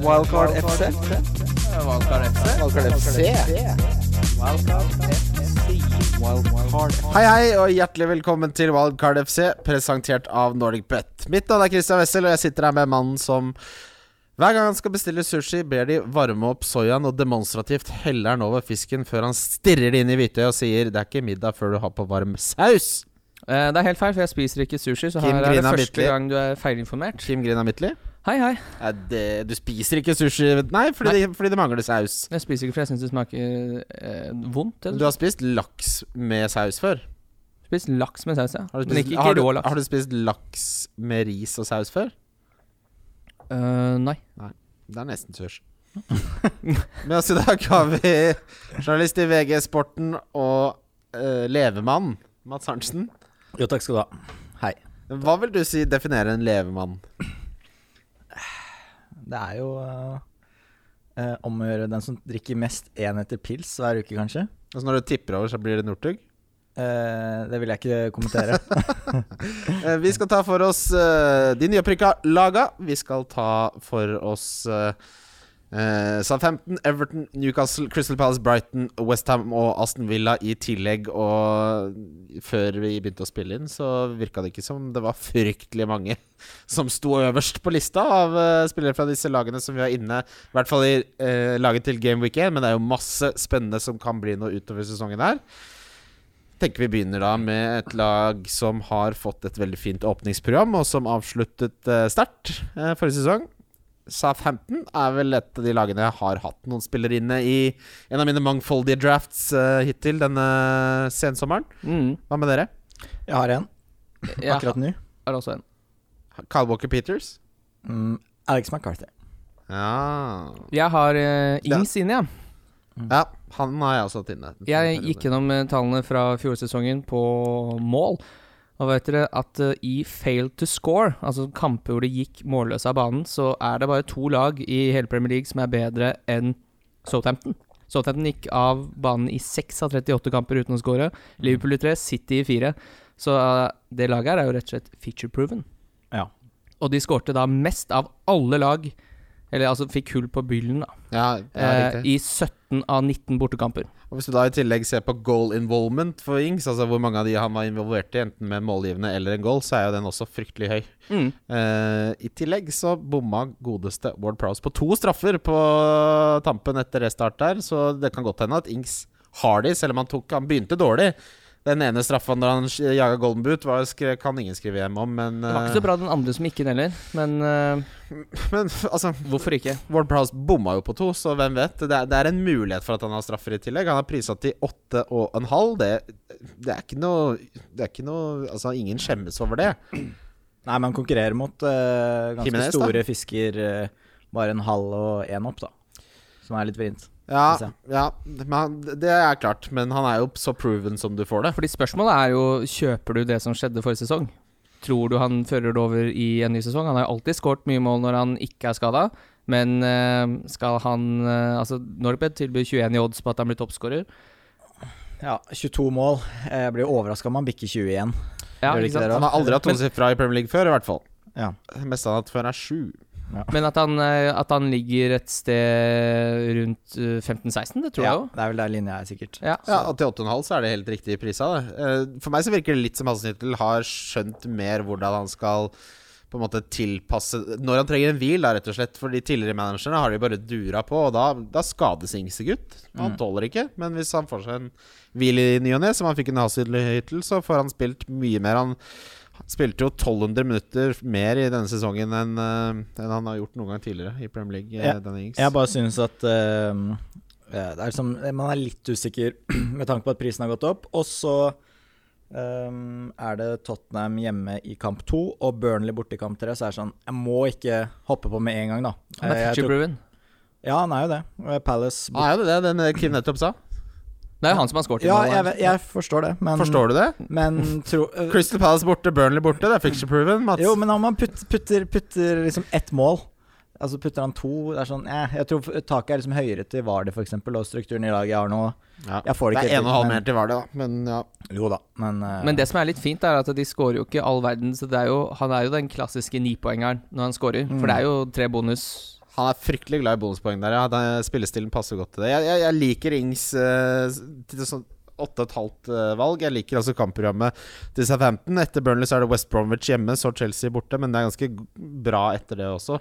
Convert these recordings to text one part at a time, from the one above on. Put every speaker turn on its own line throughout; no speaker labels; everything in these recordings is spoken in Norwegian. Wildcard FC.
Valgkar FC.
Wildcard FC. Wildcard FC.
Hei, hei, og hjertelig velkommen til Wildcard FC, presentert av NordicBet. Mitt navn er Christian Wessel, og jeg sitter her med mannen som hver gang han skal bestille sushi, ber de varme opp soyaen og demonstrativt heller den over fisken før han stirrer det inn i hvitøyet og sier 'det er ikke middag før du har på varm saus'.
Eh, Det er helt feil, for jeg spiser ikke sushi, så
Kim
her er det
Grina
første
Midtly.
gang du er feilinformert.
Kim Grina Midtly.
Hei, hei.
Er det- Du spiser ikke sushi Nei, fordi, Det, fordi det mangler saus.
Jeg spiser ikke, for jeg syns det smaker eh, vondt.
Du
Eller?
har spist laks med saus før?
Du har spist laks med saus, ja.
Har du
Men
spist,
ikke,
har
ikke
du,
rå
Har
laks.
du spist laks med ris og saus før?
Eh, nei.
Det er nesten sushi. Med oss i dag har vi journalist i VG Sporten og eh, levemann Mats Arntzen.
Jo, takk skal du ha. Hei.
Hva vil du si definerer en levemann?
Det er jo eh, eh, om å gjøre den som drikker mest enheter pils hver uke, kanskje.
Altså Når du tipper over, så blir det Northug.
Eh, det vil jeg ikke kommentere.
Eh, vi skal ta for oss eh, de nyopprykka laga. Vi skal ta for oss eh, eh, Southampton, Everton, Newcastle, Crystal Palace, Brighton, Westham og Aston Villa i tillegg. Og før vi begynte å spille inn, så virka det ikke som det var fryktelig mange som sto øverst på lista av eh, spillere fra disse lagene som vi har inne. I hvert fall i eh, laget til Game Week 1, men det er jo masse spennende som kan bli noe utover sesongen her tenker vi begynner da med et lag som har fått et veldig fint åpningsprogram, og som avsluttet eh, sterkt eh, forrige sesong. Southampton er vel et av de lagene jeg har hatt noen spillere inne i en av mine mangfoldige drafts eh, hittil denne eh, sensommeren.
Mm.
Hva med dere?
Jeg har en
Jeg
akkurat nå.
har også en.
Kyle Walker Peters?
Mm, Alex McCarthy.
Ja.
Jeg har eh, Ings inne, ja.
ja. Han har jeg også hatt inne.
Mm. Jeg gikk gjennom eh, tallene fra fjorårssesongen på mål. Og vet dere at eh, i fail to score, altså kamper hvor det gikk målløse av banen, så er det bare to lag i hele Premier League som er bedre enn Southampton. Southampton gikk av banen i 6 av 38 kamper uten å
Mm.
score. Liverpool i 3, City i 4. Så eh, det laget her er jo rett og slett feature proven.
Ja.
Og de skårte da mest av alle lag, eller altså fikk hull på byllen, da,
Ja, ja,
eh,
riktig.
i 17 av 19 bortekamper.
Og Hvis du da i tillegg ser på goal involvement for Ings, altså hvor mange av de han var involvert i, enten med målgivende eller en goal, så er jo den også fryktelig høy.
Mm.
Eh, I tillegg så bomma godeste Ward Prowse på to straffer på tampen etter restart der, så det kan godt hende at Ings har de, selv om han tok Han begynte dårlig. Den ene straffa når han sk- jaga golden boot, var, skre- kan ingen skrive hjem om, men,
Det var
eh,
ikke så bra den andre som gikk inn heller, men eh,
men altså,
hvorfor ikke?
Ward Prowse bomma jo på to, så hvem vet? Det er, det er en mulighet for at han har straffer i tillegg. Han er prisa til åtte og en halv. Det, det er ikke noe Det er ikke noe Altså, ingen skjemmes over det.
Nei, men han konkurrerer mot eh, ganske
Jimenez, da?
store fisker. eh, bare en halv og én opp, da. Som er litt vrient. Synes
Ja,
jeg.
ja men han- det er klart. Men han er jo så proven som du får det.
Fordi spørsmålet er jo Kjøper du det som skjedde forrige sesong? Tror du han fører det over i en ny sesong? Han har jo alltid skåret mye mål når han ikke er skada, men eh, skal han eh, Altså, Norbed tilbyr 21 i odds på at han blir toppskårer.
Ja, 22 mål. Eh, Jeg blir overraska om han bikker 20 igjen.
Ja,
Gjør det
ikke
ikke det,
sant?
Han har aldri hatt tosifra i Premier League før, i hvert fall.
Ja.
Det meste han har hatt før, er sju.
Men at han, eh, at han ligger et sted rundt eh, 15-16, det tror
ja, Eh,
jeg jo.
Det er vel der linja er, sikkert.
Ja.
Ja, og til åtte og en halv så er det helt riktig prisa. Det. Eh, For meg så virker det litt som Hasenhyttel har skjønt mer hvordan han skal på en måte tilpasse Når han trenger en hvil, da, rett og slett. For de tidligere managerne har de bare dura på, og da, da skades Ingse gutt. Han
Mm.
tåler ikke. Men hvis han får seg en hvil i ny og ne, som han fikk under Hasenhyttel, så får han spilt mye mer. Han spilte jo 1200 minutter mer i denne sesongen enn eh, enn han har gjort noen gang tidligere i Premier League. eh,
Ja.
denne Ings.
Jeg bare synes at ehm, eh, det er som, Man er litt usikker med tanke på at prisen har gått opp. Og så ehm, er det Tottenham hjemme i kamp to og Burnley borte i kamp tre. Så er det sånn Jeg må ikke hoppe på med en gang, da.
Han
Eh,
er
jeg tror-
feature proven.
Ja, han er jo det. Eh, Palace borte.
Ah, ja, det er det den eh, Kim nettopp sa.
Det er jo han som har skåret. i
Ja,
mål,
jeg,
da.
vet- jeg forstår det, men
Forstår du det?
Men tro eh,
Crystal Palace borte, Burnley borte. Det er fiction proven, Mats.
Jo, men om man putt, putter, putter liksom ett mål Altså putter han to Det er sånn eh, Jeg tror taket er liksom høyere til Vardø, for eksempel og strukturen i laget jeg har nå.
ja.
jeg får det ikke
er en og en halv
helt, men-
mer til Vardø, da. Men ja.
Jo da, men, eh,
Men det som er litt fint, er at de scorer jo ikke Mm. all verden. Så det er jo, han er jo den klassiske nipoengeren når han scorer. For det er jo tre bonus
Han er fryktelig glad i bonuspoeng der. Ja. Den spillestilen passer godt til det. Jeg, jeg, jeg liker Ings eh, til sånn åtte og et halvt eh, valg. Jeg liker altså kampprogrammet til Southampton. Etter Burnley så er det West Bromwich hjemme, så Chelsea borte, men det er ganske g- bra etter det også.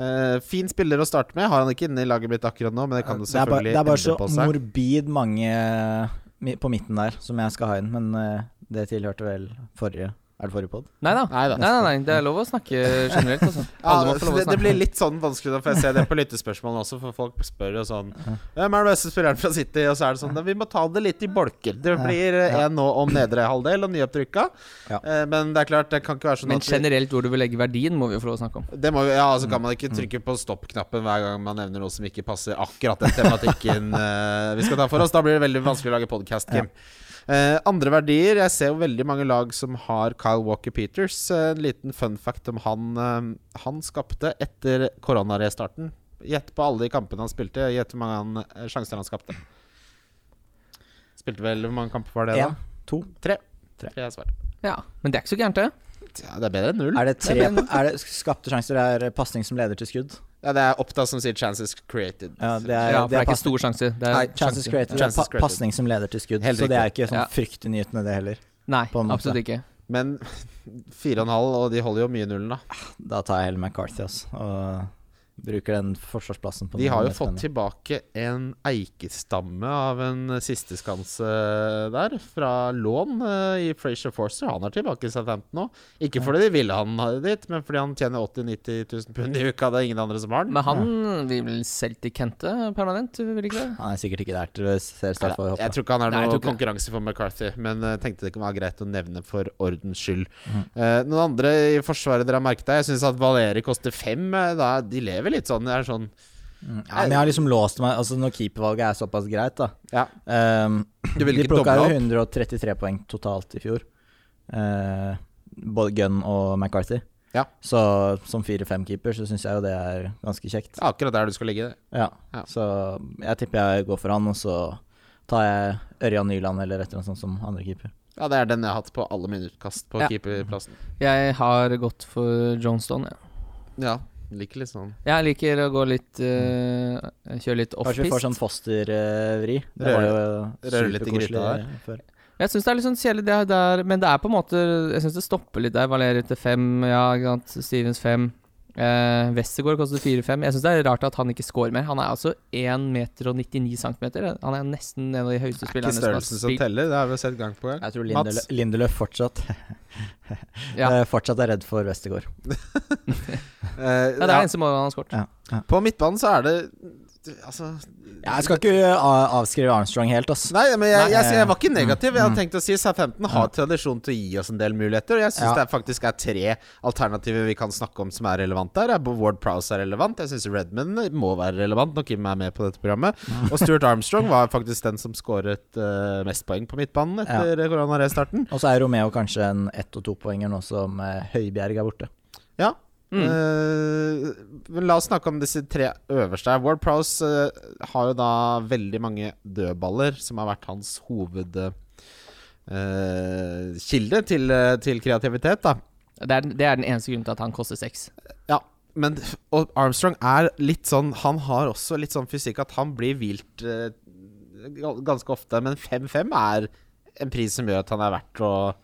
Eh, fin spiller å starte med. Har han ikke inne i laget blitt akkurat nå, men det kan det
Det er bare,
selvfølgelig
det er bare
endre
så
på seg.
morbid mange mi- på midten der som jeg skal ha inn, men eh, det tilhørte vel forrige Er det forrige pod?
Nei da. Nei,
Neida.
nei, nei, det er lov å snakke generelt, altså.
Ja,
Alle må få lov å
det, det
snakke.
blir litt sånn vanskelig, da, for jeg ser det på lyttespørsmålene også. For folk spør jo sånn Hvem er den beste spilleren fra City? Og så er det sånn da, Vi må ta det litt i bolker. Det blir eh, en nå om nedre halvdel og nyopprykka.
Ja.
Eh, Men det er klart, det kan ikke være sånn
Men
at vi-
generelt hvor du vil legge verdien, må vi jo få lov å snakke om.
det må, vi- ja, altså kan man ikke trykke på stopp-knappen hver gang man nevner noe som ikke passer akkurat den tematikken eh, vi skal ta for oss. Da blir det veldig vanskelig å lage podkast, Kim. Eh, andre verdier Jeg ser jo veldig mange lag som har Kyle Walker-Peters. Eh, en liten fun fact om han eh, han skapte etter koronarestarten. Gjett på alle de kampene han spilte. Gjett hvor mange han, eh, sjanser han skapte. Spilte vel Hvor mange kamper var det, da?
Én, to
Tre.
Tre.
Tre er svaret.
Ja, Men det er ikke så gærent, det.
Ja, det er bedre enn null.
Er det tre er det skapte sjanser? Er eh, pasning som leder til skudd?
Ja, det er Oppda som sier 'chances created'.
Ja, det er,
Ja,
det er
for det er ikke
pasning-
stor sjanse. Det
Nei,
er
chances
sjanse.
created.
Chances
det er
created.
pa pasning som leder til skudd.
Helt
så det er
riktig.
ikke sånn
Ja.
fryktinngytende, det heller.
Nei,
På en måte.
absolutt ikke.
Men fire og en halv, og de holder jo mye nullen, da.
Da tar jeg heller McCarthy, ass, og bruker den forsvarsplassen på
De
den
har jo
mest
fått
spennende.
tilbake en eikestamme av en sisteskanse der, fra lån eh, i Frazier Forster. Han er tilbake i Southampton nå. Ikke fordi de ville han ha det dit, men fordi han tjener 80 000-90 000 pund i uka. Det er ingen andre som har den.
Men han vil vel selge til Kente permanent, vil ikke det?
Han er sikkert ikke der til å se
Nei,
start for,
jeg
håper jeg.
tror ikke han er
Nei, jeg
noe
tror ikke det.
konkurranse for McCarthy, men jeg tenkte det kunne være greit å nevne for ordens skyld.
Mhm.
Eh, noen andre i Forsvaret dere har merket deg? Jeg syns at Valeri koster fem. eh, Da, de lever litt sånn. Det er sånn
Ja, men jeg har liksom låst meg Altså, når keepervalget er såpass greit, da
Ja.
Ehm,
Du vil
De
ikke
plukka
doble
jo
opp?
133 poeng totalt i fjor. Eh, både Gunn og McCarthy.
Ja.
Så som fire-fem-keeper så syns jeg jo det er ganske kjekt.
Det er akkurat der du skal ligge. det.
Ja.
Ja.
Så jeg tipper jeg går for han, og så tar jeg Ørjan Nyland eller et eller annet sånt som andre keeper.
Ja, det er den jeg har hatt på alle mine utkast på
Ja.
keeperplassen.
Jeg har gått for Johnston, jeg. Ja.
Ja, liker litt sånn
Jeg liker å gå litt eh, Kjøre litt
Kanskje vi får
off-pist.
sånn fostervri.
røre litt i gryta der.
før.
Jeg syns det er litt sånn kjedelig, det der, men det er på en måte Jeg syns det stopper litt der. Valerie til fem, ja, ikke sant. Stevens fem. Eh, Westergård koster fire-fem. Jeg syns det er rart at han ikke scorer mer. Han er altså 1 meter og 99 centimeter. Han er nesten en av de høyeste
Det er ikke
spillerne som har
størrelsen som
spilt.
teller, det har vi sett gang på gang.
Jeg tror
Mats?
Lindeløf, Lindeløf fortsatt
Ja.
eh, Fortsatt er redd for Westergård.
Eh,
Ja, det
ja,
er eneste målet han har skåret.
Ja. Ja.
På midtbanen så er det Altså
Jeg skal ikke eh, a- avskrive Armstrong helt, ass.
Nei, men jeg,
Nei,
jeg, jeg,
eh,
var ikke negativ. Jeg hadde tenkt å si Southampton har tradisjon til å gi oss en del muligheter. Og jeg syns
Ja.
det er faktisk er tre alternativer vi kan snakke om som er relevant der. Jeg- Ward Prowse er relevant. Jeg syns Redman må være relevant når Kim er med på dette programmet. Og Stuart Armstrong var faktisk den som skåret eh, mest poeng på midtbanen etter koronarestarten.
Og så er Romeo kanskje en ett- og topoenger nå som eh, Høibjerg er borte.
Ja. Eh, men la oss snakke om disse tre øverste. her. Ward Prowse eh, har jo da veldig mange dødballer, som har vært hans hovedkilde til, eh, til kreativitet. da
Det er, det er den eneste grunnen til at han koster seks.
ja, men og Armstrong er litt sånn Han har også litt sånn fysikk at han blir vilt eh, gal- ganske ofte. Men 5-5 er en pris som gjør at han er verdt å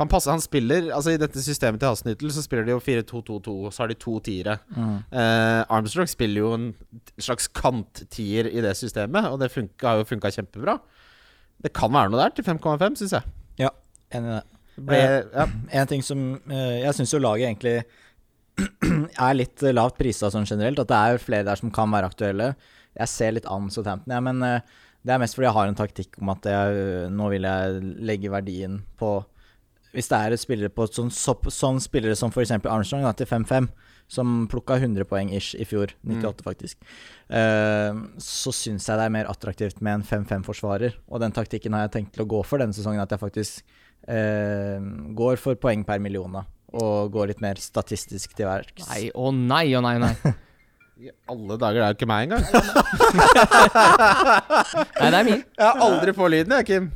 han, passer, han spiller, altså I dette systemet til Hasenhyttel så spiller de jo 4-2-2-2, og så har de to tiere. Eh, Armstrong spiller jo en slags kanttier i det systemet, og det funka, har jo funka kjempebra. Det kan være noe der til 5,5, syns jeg.
Ja, enig i det.
Ble,
Eh,
ja.
En ting som eh, Jeg syns jo laget egentlig er litt eh, lavt prisa sånn generelt. At det er flere der som kan være aktuelle. Jeg ser litt an Southampton, jeg, men eh, det er mest fordi jeg har en taktikk om at jeg, eh, nå vil jeg legge verdien på Hvis det er spillere på sånn, sopp- sånn spillere som f.eks. Armstrong da, til 5-5, som plukka 100 poeng ish i fjor, 98 faktisk, eh, så syns jeg det er mer attraktivt med en 5-5-forsvarer. Og den taktikken har jeg tenkt til å gå for denne sesongen, at jeg faktisk eh, går for poeng per million. da, Og går litt mer statistisk til verks.
Nei, å nei, å nei, nei.
I alle dager, det er jo ikke meg engang.
Nei, det er min.
Jeg har aldri på lyden, jeg, Kim.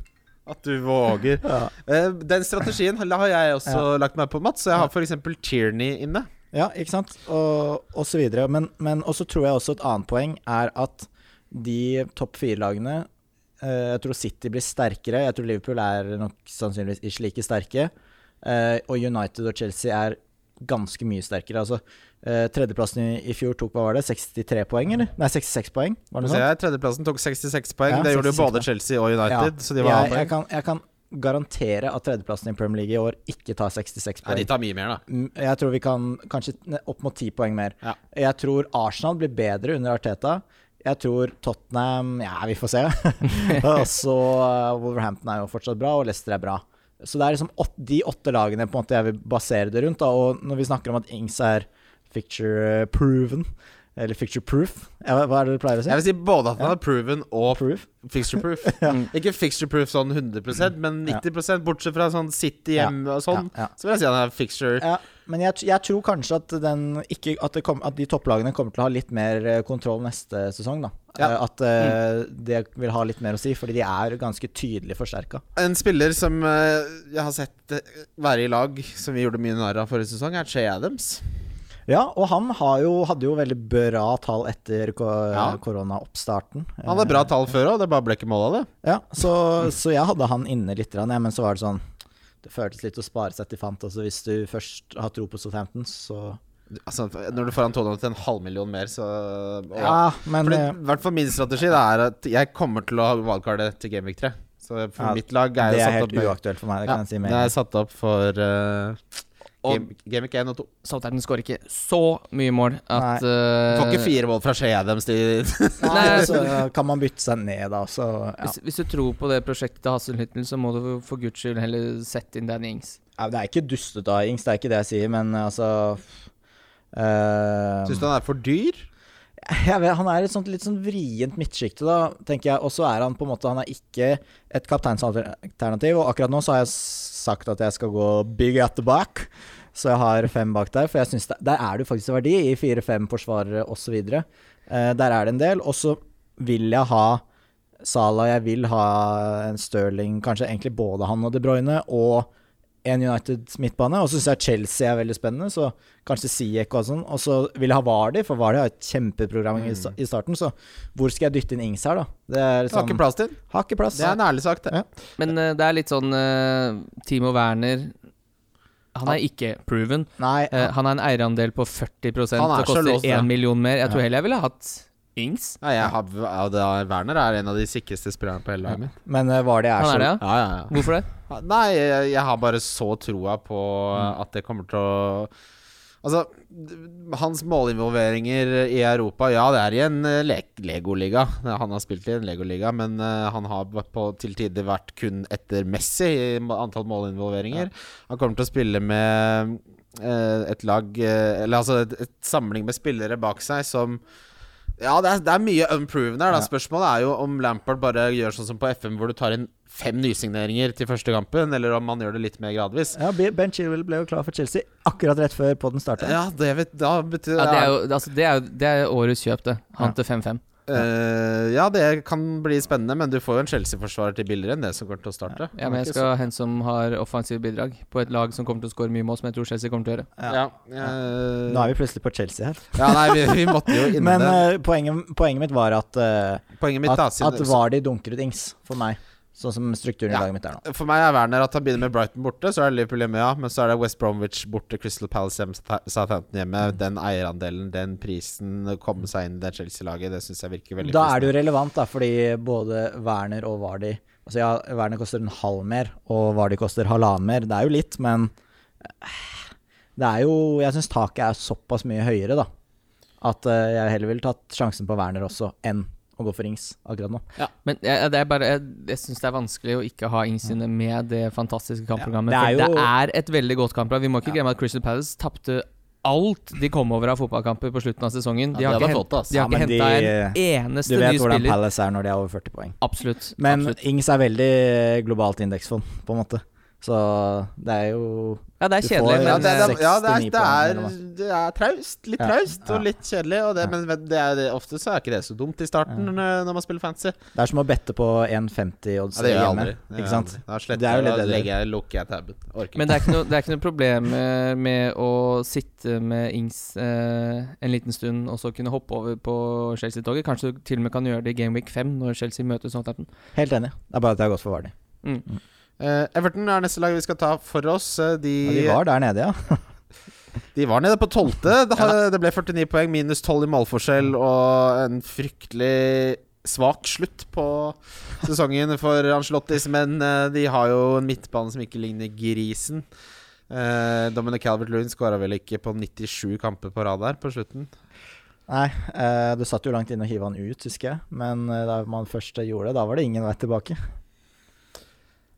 At du våger.
Ja.
Eh, Den strategien har har jeg også lagt meg på, Mats. Så jeg har f.eks. Tierney inne.
Ja, ikke sant? Og, og så videre. Men, men også tror jeg også et annet poeng er at de topp fire-lagene eh, Jeg tror City blir sterkere. Jeg tror Liverpool er nok sannsynligvis ikke like sterke. eh, og United og Chelsea er ganske mye sterkere. Altså, eh, tredjeplassen i, i fjor tok hva var det? 63 poeng, eller? Nei, 66 poeng. Var det
Nå
sånn? noe
ser
sånt?
jeg Tredjeplassen tok 66 poeng.
Ja,
det gjorde jo
66
både
poeng.
Chelsea og United.
Ja.
Så de var
jeg, jeg,
jeg,
kan, jeg kan garantere at tredjeplassen i Premier League i år ikke tar 66
Nei,
poeng.
De tar mye mer, da.
Mm, Jeg tror vi kan kanskje ne- opp mot ti poeng mer.
Ja.
Jeg tror Arsenal blir bedre under Arteta. Jeg tror Tottenham Ja, vi får se. og så eh, Wolverhampton er jo fortsatt bra, og Leicester er bra. Så det er liksom åt, de åtte lagene på en måte jeg vil basere det rundt. Da. Og når vi snakker om at Ings er picture proven, eller picture proof ja, Hva hva er det du pleier å si?
Jeg vil si både at han er proven og
Proof?
fixture proof. Ikke fixture proof sånn 100 men 90 bortsett fra sånn City hjemme og sånn.
Ja, ja.
Så vil jeg si han er fixture.
Ja, men jeg, jeg tror kanskje at, den ikke, at, det kom, at de topplagene kommer til å ha litt mer eh, kontroll neste sesong. da
Ja. Mm.
Eh, At eh, det vil ha litt mer å si, fordi de er ganske tydelig forsterka.
En spiller som eh, jeg har sett eh, være i lag, som vi gjorde mye narr av forrige sesong, er Che Adams.
Ja, og han har jo, hadde jo veldig bra tall etter ko
Ja.
koronaoppstarten.
Han hadde bra tall før òg, det bare ble ikke mål av det.
Ja, så, så jeg hadde han inne litt, grann, jeg, men så var det sånn Det føltes litt å spare seg til fant. Altså hvis du først har tro på Southampton, så
Altså, når du får Antonio til en halvmillion mer, så og-
Ja, men
Fordi,
eh,
I hvert fall min strategi det er at jeg kommer til å ha wildcardet til Gamevik 3. Så for
Ja,
mitt lag er
det
jo
er
satt
helt
opp med-
uaktuelt for meg. Det
Ja,
kan jeg si med
det
en
er satt opp for uh,
Og-
Gamevik 1 og 2.
Southampton skårer ikke så mye mål at eh,
Får ikke fire mål fra Shea Adams til
gang. Nei,
Nei.
så eh, kan man bytte seg ned, da. Så, ja.
hvis, hvis du tror på det prosjektet til Hasselhytten, så må du for guds skyld heller sette inn Danny Ings.
Ja, det er ikke dustete av Ings, det er ikke det jeg sier, men altså eh,
Syns du han er for dyr?
jeg vet, Han er et sånt litt sånn vrient midtsjikte, da, tenker jeg. Og så er han på en måte Han er ikke et kapteinsalternativ. Og akkurat nå så har jeg s- sagt at jeg skal gå big at the back. Så jeg har fem bak der. For jeg synes det, der er det jo faktisk en verdi i fire-fem eh, forsvarere osv. Uh, der er det en del. Og så vil jeg ha Salah, jeg vil ha en Stirling, kanskje egentlig både han og De Bruyne, og en United midtbane. Og så syns jeg Chelsea er veldig spennende, så kanskje Siek og sånn. Og så vil jeg ha Vardy, for Vardy har et kjempeprogram i sta- i starten, så hvor skal jeg dytte inn Ings her, da? Det
Mm. Har
er sånn,
ikke plass til.
har ikke plass.
Det er en ærlig sak, det.
Ja.
Men eh, det er litt sånn eh, Timo Werner Han er ikke proven.
Nei,
Eh, han har en eierandel på 40
Han er
og koster
så låst, ja.
én million mer. Jeg tror heller jeg ville hatt Ings.
Nei, jeg har, ja, det er, Werner er en av de sikreste spillerne på hele laget mitt.
men eh, Vardy er
Han
så
er det, ja?
Ja, ja, ja.
Hvorfor det?
Ja, Nei, jeg, jeg har bare så troa på
Mm.
eh, at det kommer til å Altså, d- hans målinvolveringer i Europa Ja, det er i en eh, le legoliga. Han har spilt i en legoliga, men eh, han har vært på, til tider vært kun etter Messi i ma- antall målinvolveringer. Han kommer til å spille med eh, et lag eh, Eller altså et, et samling med spillere bak seg som ja, det er, det er mye unproven her. Da. Spørsmålet er jo om Lampard bare gjør sånn som på FM, hvor du tar inn fem nysigneringer til første kampen, eller om han gjør det litt mer gradvis.
Ja, Ben Chilwell ble jo klar for Chelsea akkurat rett før podden starta.
Ja, det vet Da betyr
Ja, det, er jo, altså, det, er jo, det er årets kjøp, det. Han til 5-5.
Eh, ja, det kan bli spennende, men du får jo en Chelsea-forsvarer til billigere enn det som kommer til å starte.
Ja, men jeg skal ha hen som har offensive bidrag på et lag som kommer til å skåre mye mål, som jeg tror Chelsea kommer til å gjøre.
sånn. Ja, eh,
Nå er vi plutselig på Chelsea her.
ja nei, vi, vi måtte jo innom
Men
det.
eh, poenget, poenget mitt var at eh,
Poenget mitt, da
at,
siden-
at Vardy dunker ut Ings for meg, sånn som strukturen
Ja.
i laget mitt er nå.
For meg er Werner at han begynner med Brighton borte, så er det Liverpool hjemme, ja. Men så er det West Bromwich borte, Crystal Palace hjemme, Southa- Southampton hjemme.
Mm.
Den eierandelen, den prisen, komme seg inn i det Chelsea-laget, det syns jeg virker veldig
Da er det jo relevant, da, fordi både Werner og Vardy Altså ja, Werner koster en halv mer, og Vardy koster halvannen mer. Det er jo litt, men eh, det er jo Jeg syns taket er såpass mye høyere, da, at eh, jeg heller ville tatt sjansen på Werner også, enn å gå for Ings akkurat nå.
Men jeg, det er bare, jeg, jeg syns det er vanskelig å ikke ha Ings inne med det fantastiske kampprogrammet.
Ja, det er
for det
jo-
er et veldig godt kampprogram. Vi må ikke glemme at Crystal Palace tapte alt de kom over av fotballkamper på slutten av sesongen. De
Ja,
har
det
ikke,
var
hent,
flott, ass.
de har
Ja,
ikke
men
henta
de-
en
Du
eneste ny
vet hvordan
spiller.
Palace er når de er over 40 poeng.
Absolutt.
Men
absolutt.
Ings er veldig globalt indeksfond, på en måte. Så det er jo
Ja, det er
Du får-
kjedelig,
Ja,
men
det, det, ja, det, er,
69
det,
poeng,
er,
eller
det er traust. Litt
Ja,
traust
ja.
og litt kjedelig. Og det,
Ja.
Men det er, det, ofte så er ikke det så dumt i starten eh, når- når man spiller fancy.
Det er som å bette på 1,50 odds
Ja, det gjør jeg
hjemme.
aldri. Det gjør jeg
Ikke sant?
aldri. Da sletter
Det er jo
jeg, da
litt det det
legger jeg, lukker jeg tabben. Orker ikke.
Men det er ikke noe, det er ikke noe problem eh, med å sitte med Ings eh, en liten stund og så kunne hoppe over på Chelsea-toget. Kanskje du til og med kan gjøre det i Game Week 5 når Chelsea møter Southampton.
Helt enig. Det er bare at det har gått for Vardy.
Mm.
Eh, Everton er neste lag vi skal ta for oss. Eh, De,
Ja, de var der nede, ja.
de var nede på tolvte. Det, hadde- det ble 49 poeng, minus 12 i målforskjell og en fryktelig svak slutt på sesongen for Ancelottis menn. Eh, De har jo en midtbane som ikke ligner grisen. Eh, Dominic Calvert-Lewin skåra vel ikke på 97 kamper på rad der på slutten.
Nei, eh, du satt jo langt inne og hiva han ut, husker jeg. Men eh, da man først gjorde det, da var det ingen vei tilbake.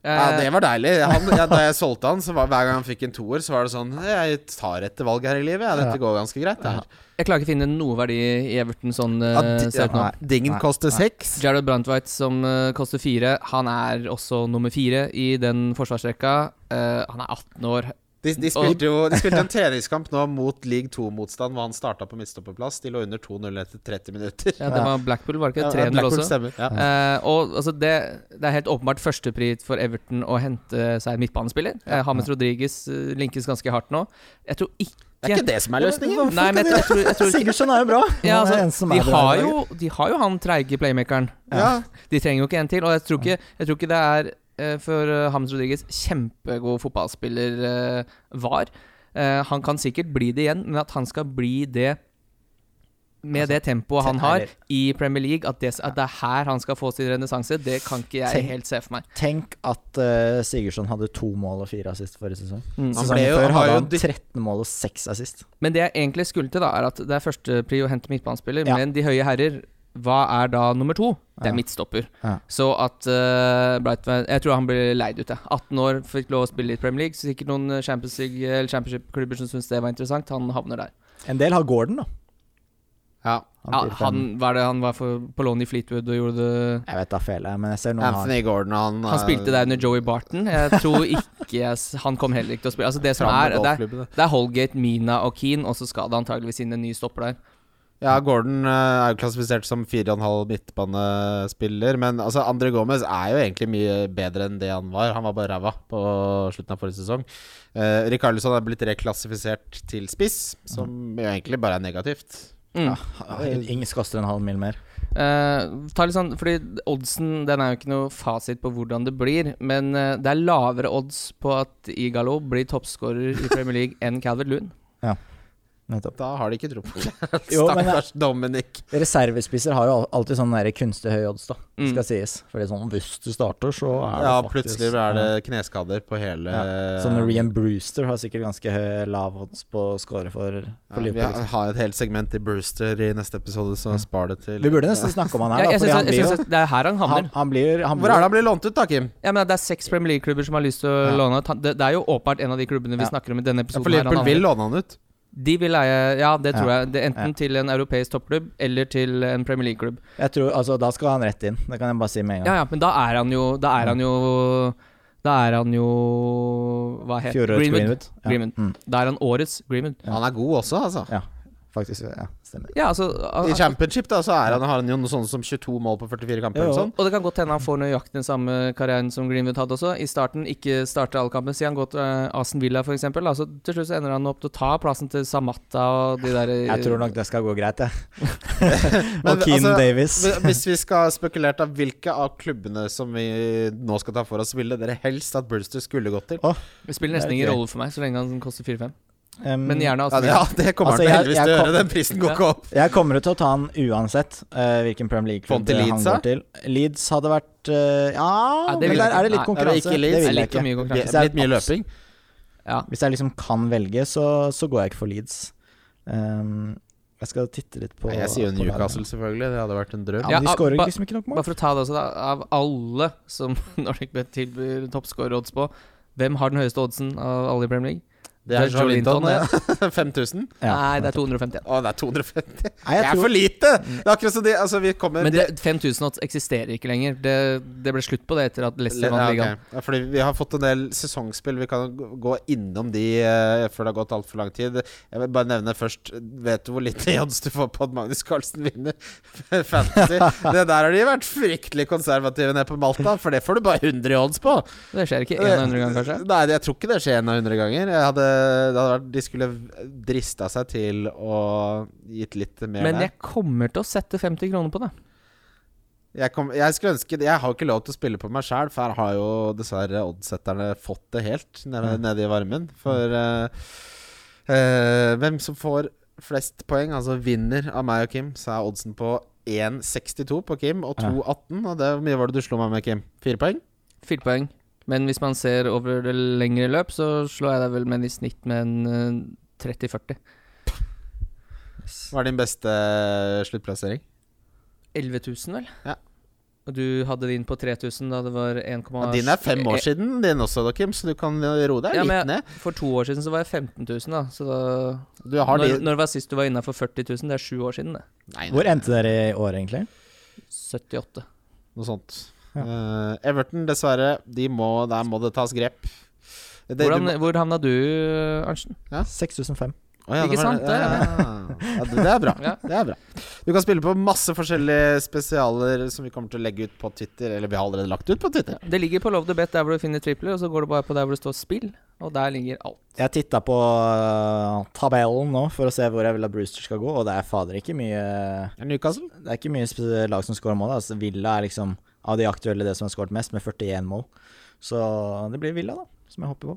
Ja,
Eh,
det var deilig. Han, ja, da jeg solgte han, så var, hver gang han fikk en toer, så var det sånn Jeg tar etter valg her i livet. Ja, dette
Ja.
går ganske greit. Det her.
Jeg klarer ikke å finne noe verdi i Everton sånn eh,
Ja, di-
ser ut nå.
ja, Dingen
Nei.
koster seks.
Jared Brantwhite som eh, koster fire, han er også nummer fire i den forsvarsrekka. Eh, han er 18 år.
De, de, spilte jo, de spilte en treningskamp nå mot league 2-motstand, hvor han starta på midtstopperplass. De lå under 2-0 etter 30 minutter.
Ja, det
Ja.
var Blackpool, var det
Ja,
ikke? 300
Blackpool
også.
stemmer. Ja.
Eh, og altså, det, det er helt åpenbart førstepris for Everton å hente seg en midtbanespiller. Eh, James Rodriguez eh, linkes ganske hardt nå. Jeg tror ikke
Det er ikke det som er løsningen.
Nei, men jeg, jeg tror, jeg tror ikke
Sigurdsson er jo bra.
ja,
Han er den
altså,
som
de,
er bra i
har
dag.
jo, de har jo han treige playmakeren.
Ja.
De trenger jo ikke en til. Og jeg tror ikke, jeg tror ikke det er eh, for eh, James Rodriguez kjempegod fotballspiller eh, var. Eh, han kan sikkert bli det igjen, men at han skal bli det med
Altså,
det tempoet han har
tenner.
i Premier League, at det, at det er her han skal få sin renessanse, det kan ikke jeg
Tenn-
helt se for meg.
Tenk at eh, Sigurdsson hadde to mål og fire assist forrige sesong.
Mm.
Han
Sesongen
ble jo-
før
han var jo
hadde han
dytt-
13 mål og seks assist.
Men det jeg egentlig skulle til, da, er at det er førstepri å hente midtbanespiller.
Ja.
Men de høye herrer, hva er da nummer to? Det
Ja.
er midtstopper.
Ja.
Så at eh, Brightman Jeg tror han blir leid ut, jeg. 18 år, fikk lov å spille litt Premier League. Så sikkert noen eh, Champions League- eller Championship-klubber som syns det var interessant. Han havner der.
En del har Gordon, da.
ja.
Ja,
fyrer fem.
han, hva er det, han var for, på lån i Fleetwood og gjorde det
Jeg vet da fele, men jeg ser noen har
Anthony Gordon, han eh,
Han spilte der under Joey Barton. Jeg tror ikke jeg, s- han kom heller ikke til å spille. Altså det som er, det er, det er Holgate, Mina og Keane, og så skal det antageligvis inn en ny stopper der.
Ja, Gordon eh, er jo klassifisert som 4,5 midtbanespiller, men altså, Andre Gomez er jo egentlig mye bedre enn det han var. Han var bare ræva på slutten av forrige sesong. Uh, Rikarlisson er blitt reklassifisert til spiss, som jo egentlig bare er negativt.
Mm.
Ja, Ingen koster en halv mil mer.
Eh, ta litt sånn, fordi Oddsen den er jo ikke noe fasit på hvordan det blir, men eh, det er lavere odds på at Igalo blir toppskårer i Premier League enn Calvert Loon.
Nettopp.
Da har de ikke tro på det.
Jo, men-
Stakkars Dominic.
Reservespisser har jo al- alltid sånn der kunstig høy odds, da.
Mm.
Skal sies. Fordi sånn hvis du starter, så er det
Ja,
faktisk
plutselig er det kneskader på hele
Ja. Sånn Rian Brewster har sikkert ganske høy, lav odds på å score for, for
ja, Vi
Liverpool. liksom.
har- har et helt segment i Brewster i neste episode, så spar det til
Vi burde nesten snakke om han her,
Jeg,
da.
jeg,
Fordi
synes,
han
jeg
blir jo
synes at Det er her han
han,
havner.
han blir, han
Hvor er
blir
det han blir lånt ut, da, Kim?
Ja, men det er seks Premier League-klubber som har lyst til å
Ja.
låne ut. Han- Det, det er jo åpenbart en av de klubbene vi
Ja.
snakker om i denne
Ja,
episoden.
for
her han
Liverpool vil
havner.
låne han ut.
De vil leie, ja, det tror
Ja.
jeg. Det, enten
Ja.
til en europeisk toppklubb eller til en Premier League-klubb.
Jeg tror, altså, Da skal han rett inn. Det kan jeg bare si med en
Ja,
gang.
ja, men da er han jo Da er han jo Da er han jo Hva heter
Fjorårets Greenwood. Ja.
Greenwood.
Mm.
Da er han årets Greenwood.
Han er god også, altså.
Faktisk, ja, stemmer.
Ja, altså
I
han-
championship da, så er han, har han jo noe sånt som 22 mål på 44 kamper.
Jo,
eller
jo.
sånn.
Og det kan godt hende han får nøyaktig den samme karrieren som Greenwood hadde også. I starten ikke starte alle kampene. Si han går til eh, Aston Villa, f.eks. Altså, til slutt så ender han opp til å ta plassen til Samata og de der
Jeg tror nok det skal gå greit, jeg.
Eh, Men
og Keane
altså,
Davis.
Hvi- Hvis vi skal spekulere av hvilke av klubbene som vi nå skal ta for oss, ville dere helst at Brewster skulle gått til?
Det spiller nesten
Det er
ingen
gøy.
rolle for meg, så lenge han koster 4-5.
Um,
Men
Mm.
gjerne
Ja,
Aston
det,
Villa.
ja, det kommer
Altså,
han
jeg-
heldigvis
jeg
til å
kom-
gjøre. Den prisen går ikke opp.
Jeg kommer til å ta han uansett eh, hvilken Premier
Få han til
League-klubb han
Leeds, da?
går til. Leeds hadde vært eh, Ja,
Ja, det
men
vil jeg
der
ikke.
er det
Nei,
litt konkurranse.
ikke Leeds.
Det
Det er
vil jeg
litt for
ikke.
mye
Det
konkurranse.
er litt mye løping.
Ja.
Hvis jeg liksom kan velge, så, så går jeg ikke for Leeds. Um, jeg skal titte litt på
Nei, Jeg sier jo
på laget.
Newcastle, selvfølgelig. Det hadde vært en drøm.
Ja,
Ja, ah,
men de skårer
ba-
liksom ikke nok mål.
Bare for å ta det også, da. Av alle som Nordic Bet tilbyr toppscorer-odds på, hvem har den høyeste oddsen av alle i Premier League?
Det er Jolinton,
det.
det. 5000?
Nei, det er 251.
Å, det er 250.
Nei,
Det
jeg
er
tror-
for lite! Det er akkurat som de Altså, vi kommer
Men
de-
det, 5000 eksisterer ikke lenger. Det, det ble slutt på det etter at Leicester
Ja,
vant
ok.
ligaen.
Ja, fordi vi har fått en del sesongspill. Vi kan g- gå innom de eh, før det har gått altfor lang tid. Jeg vil bare nevne først Vet du hvor lite odds du får på at Magnus Carlsen vinner Fantasy? Det der har de vært fryktelig konservative nede på Malta, for det får du bare 100 i odds på. Eh,
Det skjer ikke en av hundre ganger, kanskje.
Nei, jeg tror ikke det skjer en av 100 ganger. Jeg hadde, det hadde vært, de skulle drista seg til å gitt litt mer
Men
der.
jeg kommer til å sette 50 kroner på det.
Jeg, kom, jeg skulle ønske Jeg har ikke lov til å spille på meg sjæl, for her har jo dessverre oddsetterne fått det helt nede,
Mm.
nede i varmen. For eh, eh, hvem som får flest poeng, altså vinner av meg og Kim, så er oddsen på 1,62 på Kim og 2,18. Og det, hvor mye var det du slo meg med, Kim? Fire poeng?
Fire poeng. Men hvis man ser over det lengre løp, så slår jeg deg vel med i snitt med en eh, 30-40.
Hva er din beste eh, sluttplassering?
11 000, vel?
Ja.
Og du hadde din på 3000 da det var eh, 1,7
Ja, din er fem år siden, din også, da, Kim, så du kan roe deg
Ja,
litt
men jeg-
ned.
For to år siden så var jeg 15 000, da. Så da
Du har
når,
de
når det var sist du var innafor 40 000? Det er sju år siden, det.
Nei,
Hvor endte dere i år, egentlig?
78.
Noe sånt. Eh, Everton, dessverre. De må, der må det tas grep. Det, du
Hvordan,
må-
hvor havna du, Arntzen?
6005.
Å ja,
ikke
det var
sant,
det. Ja, ja, ja. ja, det, det er bra.
Ja.
Det er bra. Du kan spille på masse forskjellige spesialer som vi kommer til å legge ut på Twitter. Eller vi har allerede lagt ut på Twitter.
Det ligger på Love the Bet der hvor du finner tripler, og så går du bare på der hvor det står spill, og der ligger alt.
Jeg titta på øh, tabellen nå for å se hvor jeg vil at Brewster skal gå, og det er fader ikke mye
Er det Newcastle?
Det er ikke mye sp- lag som scorer mål. da. Altså, Villa er liksom av de aktuelle det som har skåret mest, med 41 mål. Så det blir Villa, da, som jeg hopper på.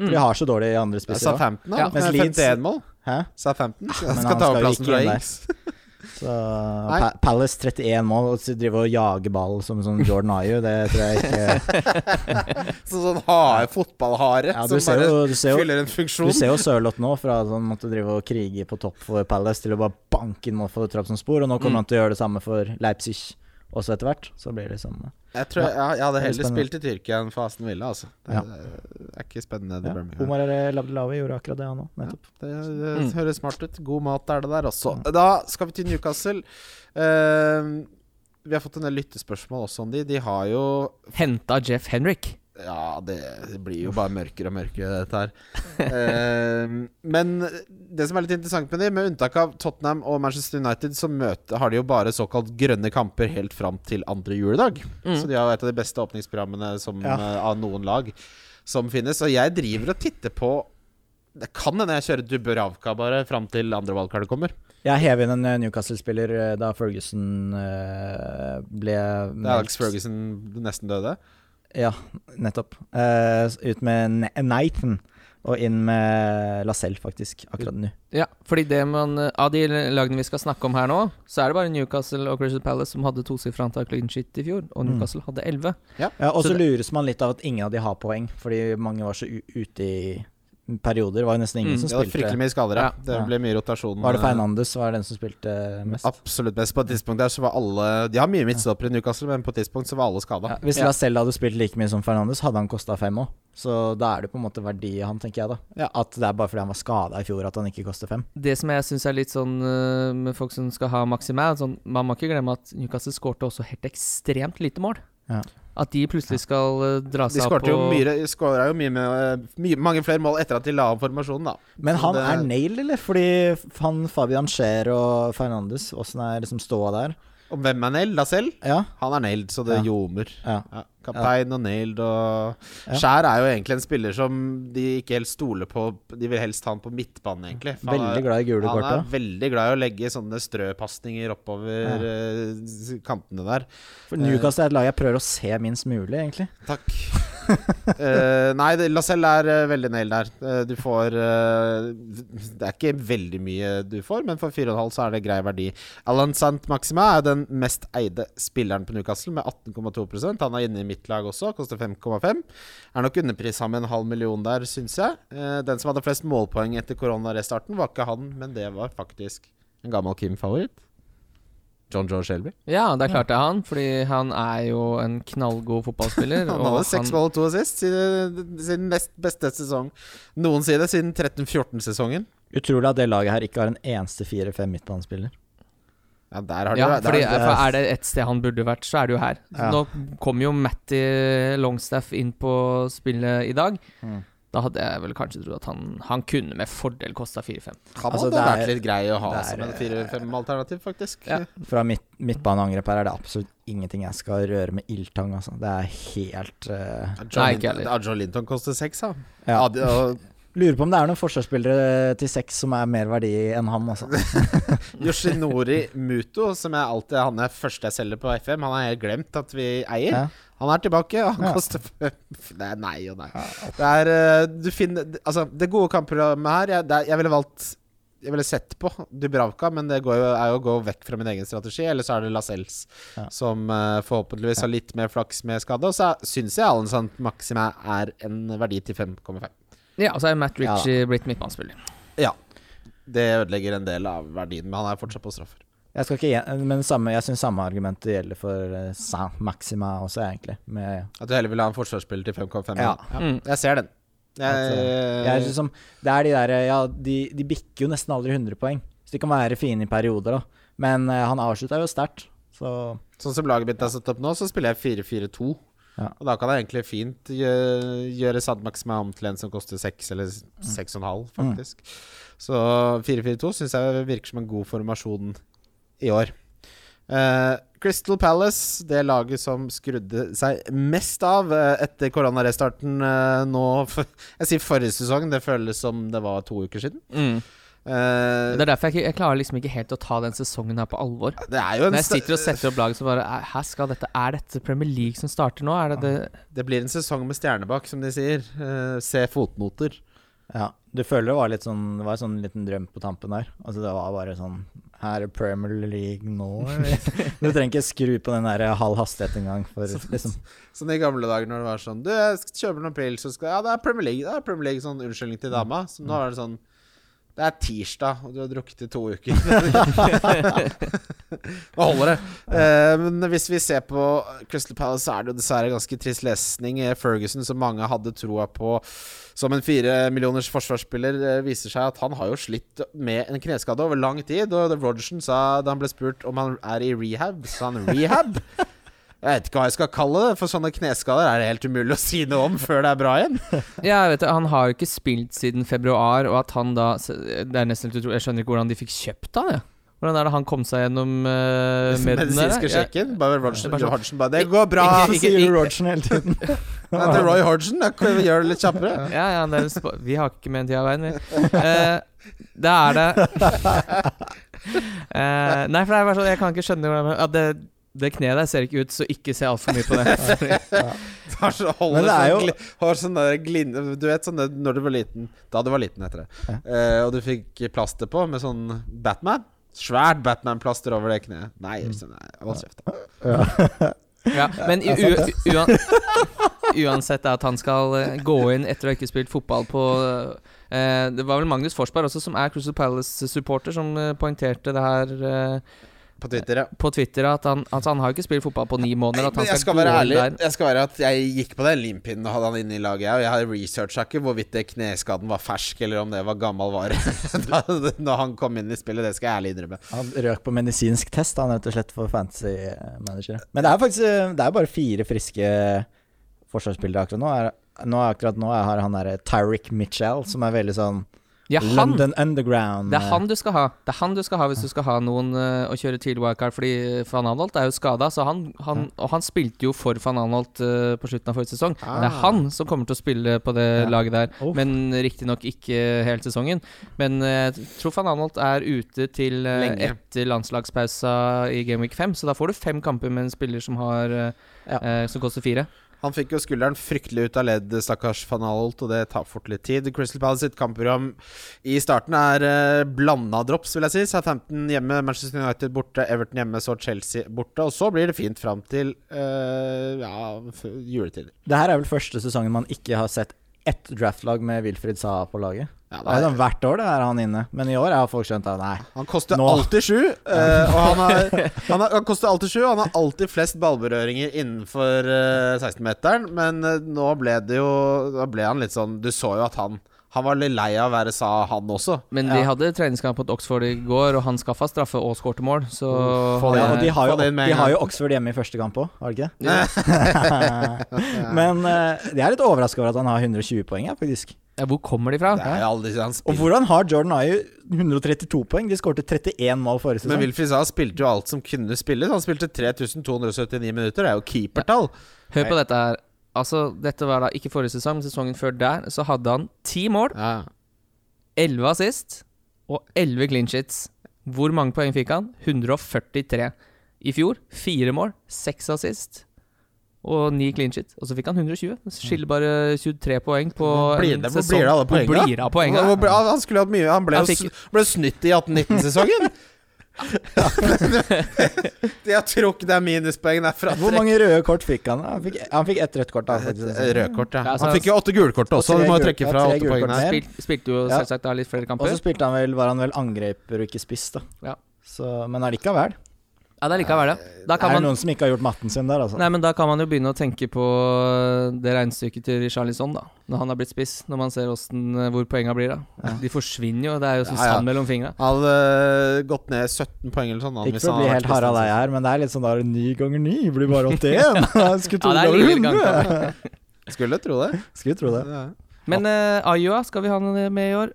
Mm.
For de har så dårlig i andre spisser òg.
Southampton, da.
Ja.
Med
Mens Leeds-
51 mål.
Hæ?
Southampton
men
skal
han
ta
skal
over
jo
plassen
ikke
fra
inn der.
Ings.
Så pa Palace 31 mål, og så driver og jager ball som sånn Jordan Ayew, det tror jeg ikke
Sånn, sånn hare, fotballhare
Ja, du
som
ser
bare
jo- du ser jo-
fyller en
Du
funksjon.
ser jo Sørloth nå, fra at han måtte drive og krige på topp for Palace til å bare banke inn mål for Trabzonspor, og nå
Mm.
kommer han til å gjøre det samme for Leipzig også etter hvert. Så blir det sånn eh,
Jeg, tror, jeg, jeg hadde
er
heller
spennende.
spilt i Tyrkia enn for Aston Villa, altså. Det,
Ja.
det er ikke spennende.
ja.
det Birmingham.
Omar Labdelawi gjorde akkurat det, han òg, nettopp.
Det, det høres smart ut. God mat er det der også. Da skal vi til Newcastle. Eh, vi har fått en del lyttespørsmål også om de. De har jo
Henta Jeff Henrik.
Ja, det blir jo bare mørkere og mørkere, dette her. Eh, men det som er litt interessant med de, med unntak av Tottenham og Manchester United, så møte, har de jo bare såkalt grønne kamper helt fram til andre juledag. Så de har jo et av de beste åpningsprogrammene som,
Ja.
eh, av noen lag som finnes. Og jeg driver og titter på det kan hende jeg kjører Dubravka bare fram til andre valgkart kommer.
Jeg hev inn en eh, Newcastle-spiller eh, da Ferguson eh, ble
Det er Alex Ferguson nesten døde.
Ja, nettopp. Eh, s- ut med Ne- Nathan og inn med Lacelle, faktisk, akkurat nå.
Ja, fordi det man eh, Av de lagene vi skal snakke om her nå, så er det bare Newcastle og Crystal Palace som hadde tosifra antall clean shit i fjor,
Mm.
og Newcastle hadde 11.
Ja, og
Så
så lures man litt av at ingen av de har poeng, fordi mange var så u ute i perioder. Det var jo nesten ingen
Mm,
som
Det var
spilte.
fryktelig mye skader, ja.
Ja.
Det
Ja.
ble mye rotasjon.
Var det Fernandes var den som spilte mest?
Absolutt best. På et tidspunkt der så var alle De har mye midtstoppere i Newcastle, men på et tidspunkt så var alle skada.
Ja, hvis
Ja.
Lacelle hadde spilt like mye som Fernandes, hadde han kosta fem òg. Så da er det på en måte verdi i han, tenker jeg da.
Ja.
At det er bare fordi han var skada i fjor at han ikke koster fem.
Det som jeg syns er litt sånn øh, med folk som skal ha Maximæ sånn, Man må ikke glemme at Newcastle skårte også helt ekstremt lite mål.
Ja.
At de plutselig skal øh, dra
De
altså,
seg opp
skåret jo
og-
mye, skåret jo mye, med, eh, mye mange flere mål etter at de la om formasjonen, da.
Men
Så
han
det-
er nailed, eller? Fordi han Fabian Scheer og Fernandes, åssen er liksom ståa der?
Og hvem er nailed? Lacelle?
Ja.
Han er nailed, så det
Ja.
ljomer.
ja.
Ja, kaptein og nailed og
Ja.
Skjær er jo egentlig en spiller som de ikke helt stoler på. De vil helst ha han på midtbanen, egentlig. For han er-
Veldig glad i gule
Han er
kort. da.
veldig glad i å legge sånne strøpasninger oppover eh, s- kantene der.
For Newcastle er et lag jeg prøver å se minst mulig, egentlig.
Takk. Eh, nei, det- Lacelle er eh, veldig nail der. Eh, du får eh, Det er ikke veldig mye du får, men for 4,5 så er det grei verdi. Alan Sant Maxima er den mest eide spilleren på Newcastle med 18,2 Han er inne i mitt lag også, koster 5,5. Er nok underpris han med en halv million der, syns jeg. Eh, den som hadde flest målpoeng etter koronarestarten, var ikke han, men det var faktisk en gammel Kim-favoritt. John Joe Shelby.
Ja, det er klart det er han, fordi han er jo en knallgod fotballspiller.
Han
og
hadde seks mål og to assist siden sin nest beste sesong noensinne, siden 13-14-sesongen.
Utrolig at det laget her ikke har en eneste fire-fem midtbanespiller.
Ja, der har
ja,
du
fordi,
der,
for er det et sted han burde vært, så er det jo her.
Ja.
Nå kom jo Matty Longstaff inn på spillet i dag. Da hadde jeg vel kanskje trodd at han, han kunne med fordel kosta 4-5.
Han
Altså,
hadde
det er-
vært litt grei å ha
det er-
som en 4-5-alternativ, faktisk.
Ja.
Fra mitt, midtbaneangrep her er det absolutt ingenting jeg skal røre med ildtang, altså. Det er helt eh,
John,
Nei, ikke heller.
ja, John Linton koster seks, han.
Ja.
Adi- og
Lurer på om det er noen forsvarsspillere til seks som er mer verdi enn han, altså.
Yoshinori Muto, som jeg alltid han er første jeg selger på FM, han har helt glemt at vi eier.
Ja.
Han er tilbake, og han
Ja.
koster fem Det er nei og nei. Det er eh, Du finner Altså, det gode kampprogrammet her Jeg, det er- jeg ville valgt jeg ville sett på Dubravka, men det går jo, er jo å gå vekk fra min egen strategi. Eller så er det Lascelles,
Ja.
som eh, forhåpentligvis har litt mer flaks med skade. Og så syns jeg Allen Sant Maxime er en verdi til 5,5.
Ja, og så er Matt
Ja, da.
Ritchie blitt midtbanespiller.
Ja. Det ødelegger en del av verdien, men han er fortsatt på straffer.
Jeg skal ikke gjen- Men samme, jeg syns samme argument gjelder for eh, Saint Maxima også, egentlig. Med
At du heller vil ha en forsvarsspiller til 5,5?
Ja.
Mm.
Jeg ser den. Jeg,
At, eh, jeg er liksom, det er de der eh, Ja, de, de bikker jo nesten aldri 100 poeng. Så de kan være fine i perioder, da. Men eh, han avslutta jo sterkt, så
sånn som laget mitt er satt opp nå, så spiller jeg 4-4-2.
Ja.
Og da kan jeg egentlig fint gjøre, gjøre Sad Maxima om til en som koster 6 eller
Mm.
6,5, faktisk. Så 4-4-2 syns jeg virker som en god formasjon i år. Eh, Crystal Palace, det laget som skrudde seg mest av eh, etter koronarestarten eh, nå for, Jeg sier forrige sesong, det føles som det var to uker siden.
Mm.
Eh,
Det er derfor jeg, ikke- jeg klarer liksom ikke helt å ta den sesongen her på alvor.
Det er jo en
Når jeg
sta-
sitter og setter opp laget, så bare er- Her skal dette Er dette Premier League som starter nå? Er det det
Det blir en sesong med stjernebakk, som de sier. Eh, se fotnoter.
ja. Du føler det var litt sånn Det var en sånn liten drøm på tampen der. Altså det var bare sånn Her er Premier League nå. eller? du trenger ikke skru på den der halv hastighet engang. For liksom
Sånn i gamle dager når det var sånn Du, jeg skal kjøpe noen pils, så skal jeg Ja, det er Premier League. Det er Premier League sånn unnskyldning til dama. Så nå er det sånn Det er tirsdag, og du har drukket i to uker. Nå holder det. Eh, men hvis vi ser på Crystal Palace, så er det jo dessverre ganske trist lesning. Eh, Ferguson, som mange hadde troa på som en fire millioners forsvarsspiller, eh, viser seg at han har jo slitt med en kneskade over lang tid. Og Rogerson sa da han ble spurt om han er i rehab, sa han rehab? Jeg vet ikke hva jeg skal kalle det, for sånne kneskader er det helt umulig å si noe om før det er bra igjen.
Ja, jeg vet det. Han har jo ikke spilt siden februar, og at han da Det er nesten helt utrolig. Jeg skjønner ikke hvordan de fikk kjøpt han, jeg. Hvordan er det han kom seg gjennom uh, med den der?
Medisinske
Jeg-
sjekken. Bare Rogerson,
Bare sånn-
Hodgson bare 'Det går bra'.
Så
Ikke-
sier du
ikke-
Rogersen hele tiden.
Nei, til Roy Hodgson. Da kan vi gjøre det litt kjappere.
Ja, ja, det er en spa- vi har ikke mer enn tida i verden, vi. Eh, det er det Eh, Nei, for det er bare sånn, jeg kan ikke skjønne hvordan ja, det, det kneet der ser ikke ut, så ikke se altfor mye på det.
Har så, holder
Men det er
sånn
jo-
gli- har sånn der glin- Du vet sånn der når du var liten Da du var liten, heter det. Eh, og du fikk plaster på med sånn Batman. Svært Batman-plaster over det kneet. Nei, sånn, nei hold kjeft. da.
Ja, men i, u, uan, uansett er at han skal eh, gå inn etter å ha ikke spilt fotball på eh, Det var vel Magnus Forsberg også, som er Crystal Palace-supporter, som eh, poengterte det her eh,
På Twitter, ja.
på Twitter. At han, altså, han har jo ikke spilt fotball på ni måneder. At
Men
han
jeg skal
gå
være
inn
ærlig.
der.
Jeg skal være at jeg gikk på den limpinnen og hadde han inne i laget. jeg, Og jeg har researcha ikke hvorvidt det kneskaden var fersk, eller om det var gammel vare. da når han kom inn i spillet, det skal jeg ærlig innrømme.
Han røk på medisinsk test, han rett og slett, for fantasy eh, manager. Men det er faktisk eh, Det er bare fire friske eh, forsvarsspillere akkurat nå. Er, nå er- akkurat nå har han derre Tyrick Mitchell, som er veldig sånn
Ja, han
London Underground. eh,
Det er han du skal ha Det er han du skal ha hvis du skal ha noen eh, å kjøre tidlig wildcard, fordi eh, van Anholt er jo skada. Han, han, og han spilte jo for van Anholt eh, på slutten av forrige sesong. Det er han som kommer til å spille på det
Ah. Ja.
laget der,
Uff.
men riktignok ikke hele sesongen. Men eh, jeg tror van Anholt er ute til eh,
Lenge.
etter landslagspausa i Game Week 5, så da får du fem kamper med en spiller som har eh,
Ja.
eh, Som koster fire.
Han fikk jo skulderen fryktelig ut av ledd, stakkars van Alt, og det tar fort litt tid. Crystal Palace sitt kampprogram i starten er eh, blanda drops, vil jeg si. Southampton hjemme, Manchester United borte, Everton hjemme, så Chelsea borte. Og så blir det fint fram til eh, ja, f- juletider.
Det her er vel første sesongen man ikke har sett ett draftlag med Wilfried Saha på laget.
Ja,
Det er jo
det er,
sånn Hvert år det er han inne, men i år har folk skjønt at nei.
han koster
Nå.
alltid sju. eh, og han, har, han, har, han koster alltid sju, og han har alltid flest ballberøringer innenfor eh, 16-meteren. Men eh, nå ble det jo Da ble han litt sånn Du så jo at han Han var litt lei av å være sa, han også.
Men de hadde treningskamp mot Oxford i går, og han skaffa straffe og skårte mål, så
få det
Ja,
inn.
og de har,
Få det
jo,
inn med en
de har
gang.
jo Oxford hjemme i første kamp òg, har de ikke det? Men eh, jeg er litt overraska over at han har 120 poeng, jeg, faktisk.
ja, Hvor kommer de fra?
Det er jo aldri han
Og
spilte
hvordan har Jordan Ayew 132 poeng? De skårte 31 mål forrige
Men
sesong.
Wilfried Zaha spilte jo alt som kunne spilles. Han spilte 3279 minutter. Det er jo keepertall.
Hør på dette her. Altså, dette var da ikke forrige sesong, men sesongen før der så hadde han ti mål,
Ja.
elleve assist og elleve clean sheets. Hvor mange poeng fikk han? 143. I fjor fire mål, seks assist og ni clean sheet. Og så fikk han 120. Skiller bare 23 poeng på
Hvor blir
en
det- hvor
sesong.
blir det av alle poengene?
Hvor blir det av poengene?
Hvor- hvor ble- Han skulle hatt mye Han ble,
Han
jo
fikk-
sn- ble snytt i 18-19-sesongen. Jeg tror ikke det er minuspoeng derfra.
Hvor mange røde kort fikk han? Han fikk, han fikk ett rødt kort. Da, faktisk.
eh, Rødkort, ja.
Ja, så-
Han fikk jo åtte gulkort også.
Og tre
Du må jo
gul-
trekke
ja,
fra
tre
åtte
gulkort
poeng der.
mer.
Spil, spilte jo
Ja.
selvsagt da litt flere
Og
kamper.
så spilte han vel, var han vel angreper og ikke spiss, da.
Ja.
Så, men allikevel.
Ja, det er likevel det. Da
er
kan
det
man
noen som ikke har gjort matten sin der, altså?
Nei, men Da kan man jo begynne å tenke på eh, det regnestykket til Charlison, da. Når han har blitt spiss, når man ser hvordan, hvor poenga blir, da. De forsvinner jo, det er jo som
Ja, ja.
sand mellom fingra.
Han hadde gått ned 17 poeng eller sånn. han,
Ikke
hvis
for å
han
bli
hadde
helt
vært
Harald
Kristiansen.
Eie her, men det er litt sånn da er det ni ganger ni blir bare 81. Skulle tro
altså. Ja, det
det
er
var
livlig gang,
100.
Skulle tro det. eh,
Skulle tro det.
Ja.
Men uh, Ayua, skal vi ha han med i år?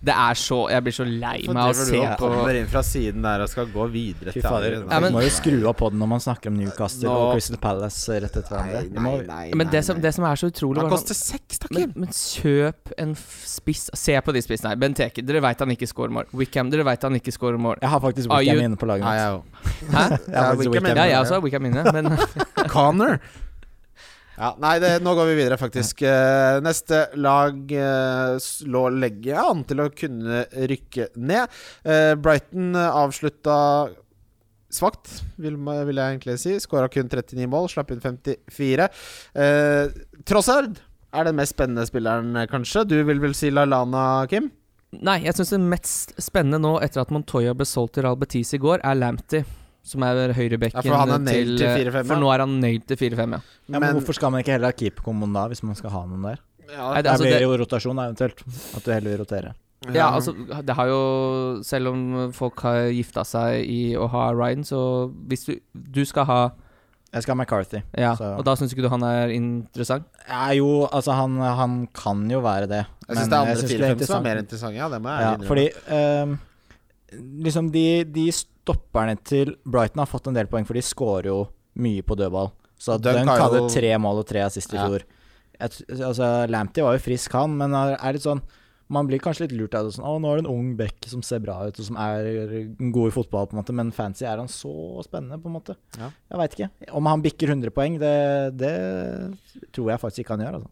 Det er så Jeg blir så lei
Hvorfor
meg av å
driver
se
du og
på
kommer inn fra siden der og skal gå videre
Fy
til
fader.
andre?
Ja, men-
Vi må jo skru av på den når man snakker om Newcastle
Nå-
og Crystal Palace rett etter hverandre. Vi må-
Men det som, det som er så utrolig
Han
hvordan-
koster seks, da,
men,
Kim.
men kjøp en f- spiss Se på de spissene her. Benteke, dere veit han ikke scorer mål. Wickham, dere veit han ikke scorer mål.
Jeg har faktisk
Are you-
Wickham inne på laget
Ja,
mitt.
jeg òg.
Hæ?
Jeg har
Ja,
faktisk
Wickham
Wickham
Ja, jeg
inne.
også har Wickham inne, men
Connor. Ja, nei, det, nå går vi videre, faktisk. Eh, Neste lag eh, s- lå legge an til å kunne rykke ned. Eh, Brighton eh, avslutta svakt, vil, ma- vil jeg egentlig si. Skåra kun 39 mål, slapp inn 54. Eh, Trossard er den mest spennende spilleren, eh, kanskje. Du vil vel si LaLana, Kim?
Nei, jeg syns det mest spennende nå, etter at Montoya ble solgt til Real Betis i går, er Lamptey. Som er høyrebekken
Ja, for han er nailed til
eh,
4-5, ja.
For nå er han nailed til 4-5, ja.
Ja, men hvorfor skal man ikke heller ha keeperkomboen da, hvis man skal ha noen der?
ja,
Nei,
Det
altså,
blir
det,
jo rotasjon da, eventuelt. At du heller vil rotere.
ja, altså, det har jo Selv om folk har gifta seg i å ha Ryan, så hvis du, du skal ha
Jeg skal ha McCarthy.
Ja,
Så-
og da syns ikke du han er interessant?
Ja, jo, altså han, han kan jo være det.
jeg syns
men
det er andre
synes
fire-fem som er
interessant.
mer interessante. Ja, det må jeg
Ja,
innrømme.
fordi ehm, liksom de, de stopperne til Brighton har fått en del poeng, for de skårer jo mye på dødball. Så at
Dunk
Dunk
har
hadde
jo-
tre mål og tre assist i
Ja.
fjor. Jeg t- Altså, Lamptey var jo frisk, han, men han er litt sånn man blir kanskje litt lurt av det. Sånn, å, nå er det en ung back som ser bra ut, og som er god i fotball, på en måte, men fancy er han så spennende, på en måte.
Ja.
Jeg veit ikke. Om han bikker 100 poeng, det, det tror jeg faktisk ikke han gjør, altså.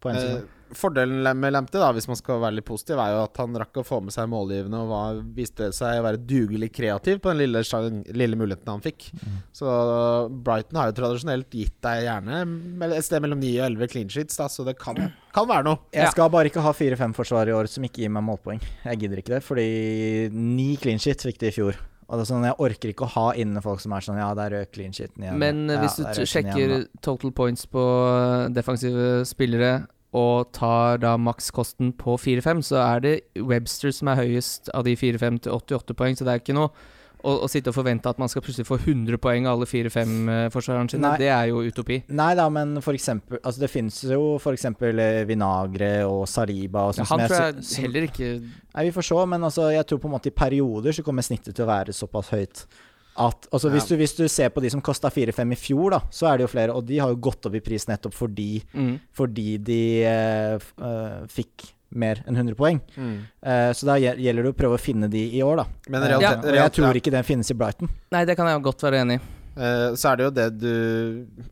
På en
Eh,
sesong.
Fordelen med Lamptey, da, hvis man skal være litt positiv, er jo at han rakk å få med seg målgivende og var, viste seg å være dugelig kreativ på den lille, sjang- lille muligheten han fikk.
Mm.
Så Brighton har jo tradisjonelt gitt deg gjerne mell- et sted mellom 9 og 11 clean sheets, da, så det kan, kan være noe.
Ja.
Jeg skal bare ikke ha fire-fem forsvar i år som ikke gir meg målpoeng. Jeg gidder ikke det, fordi ni clean shit fikk de i fjor. Og det er sånn, Jeg orker ikke å ha inne folk som er sånn Ja, der røk clean shiten igjen.
Men eh,
ja,
hvis du
der
t-
røk den igjen,
sjekker total points på eh, defensive spillere og tar da makskosten på 4-5, så er det Webster som er høyest av de 4-5 til 88 poeng, så det er ikke noe å, å sitte og forvente at man skal plutselig få 100 poeng av alle 4-5-forsvarerne sine.
Nei.
Det er jo utopi.
da. Nei da, men for eksempel altså Det fins jo for eksempel eh, Vinagre og Saliba og
Ja,
sånn
han tror
jeg
jeg
sy- sånn-
heller ikke
Nei, vi får se, men altså, jeg tror på en måte i perioder så kommer snittet til å være såpass høyt at altså, hvis, du, hvis du ser på de som kosta 4-5 i fjor, da, så er det jo flere, og de har jo gått opp i pris nettopp fordi,
mm.
fordi de eh, f- eh, fikk mer enn 100 poeng. Eh, så da gjel- gjelder det å prøve å finne de i år, da.
Men
Eh,
realitet-
og jeg
realitet-
tror ikke den finnes i Brighton.
Nei, det kan jeg godt være enig i.
Eh, så er det jo det du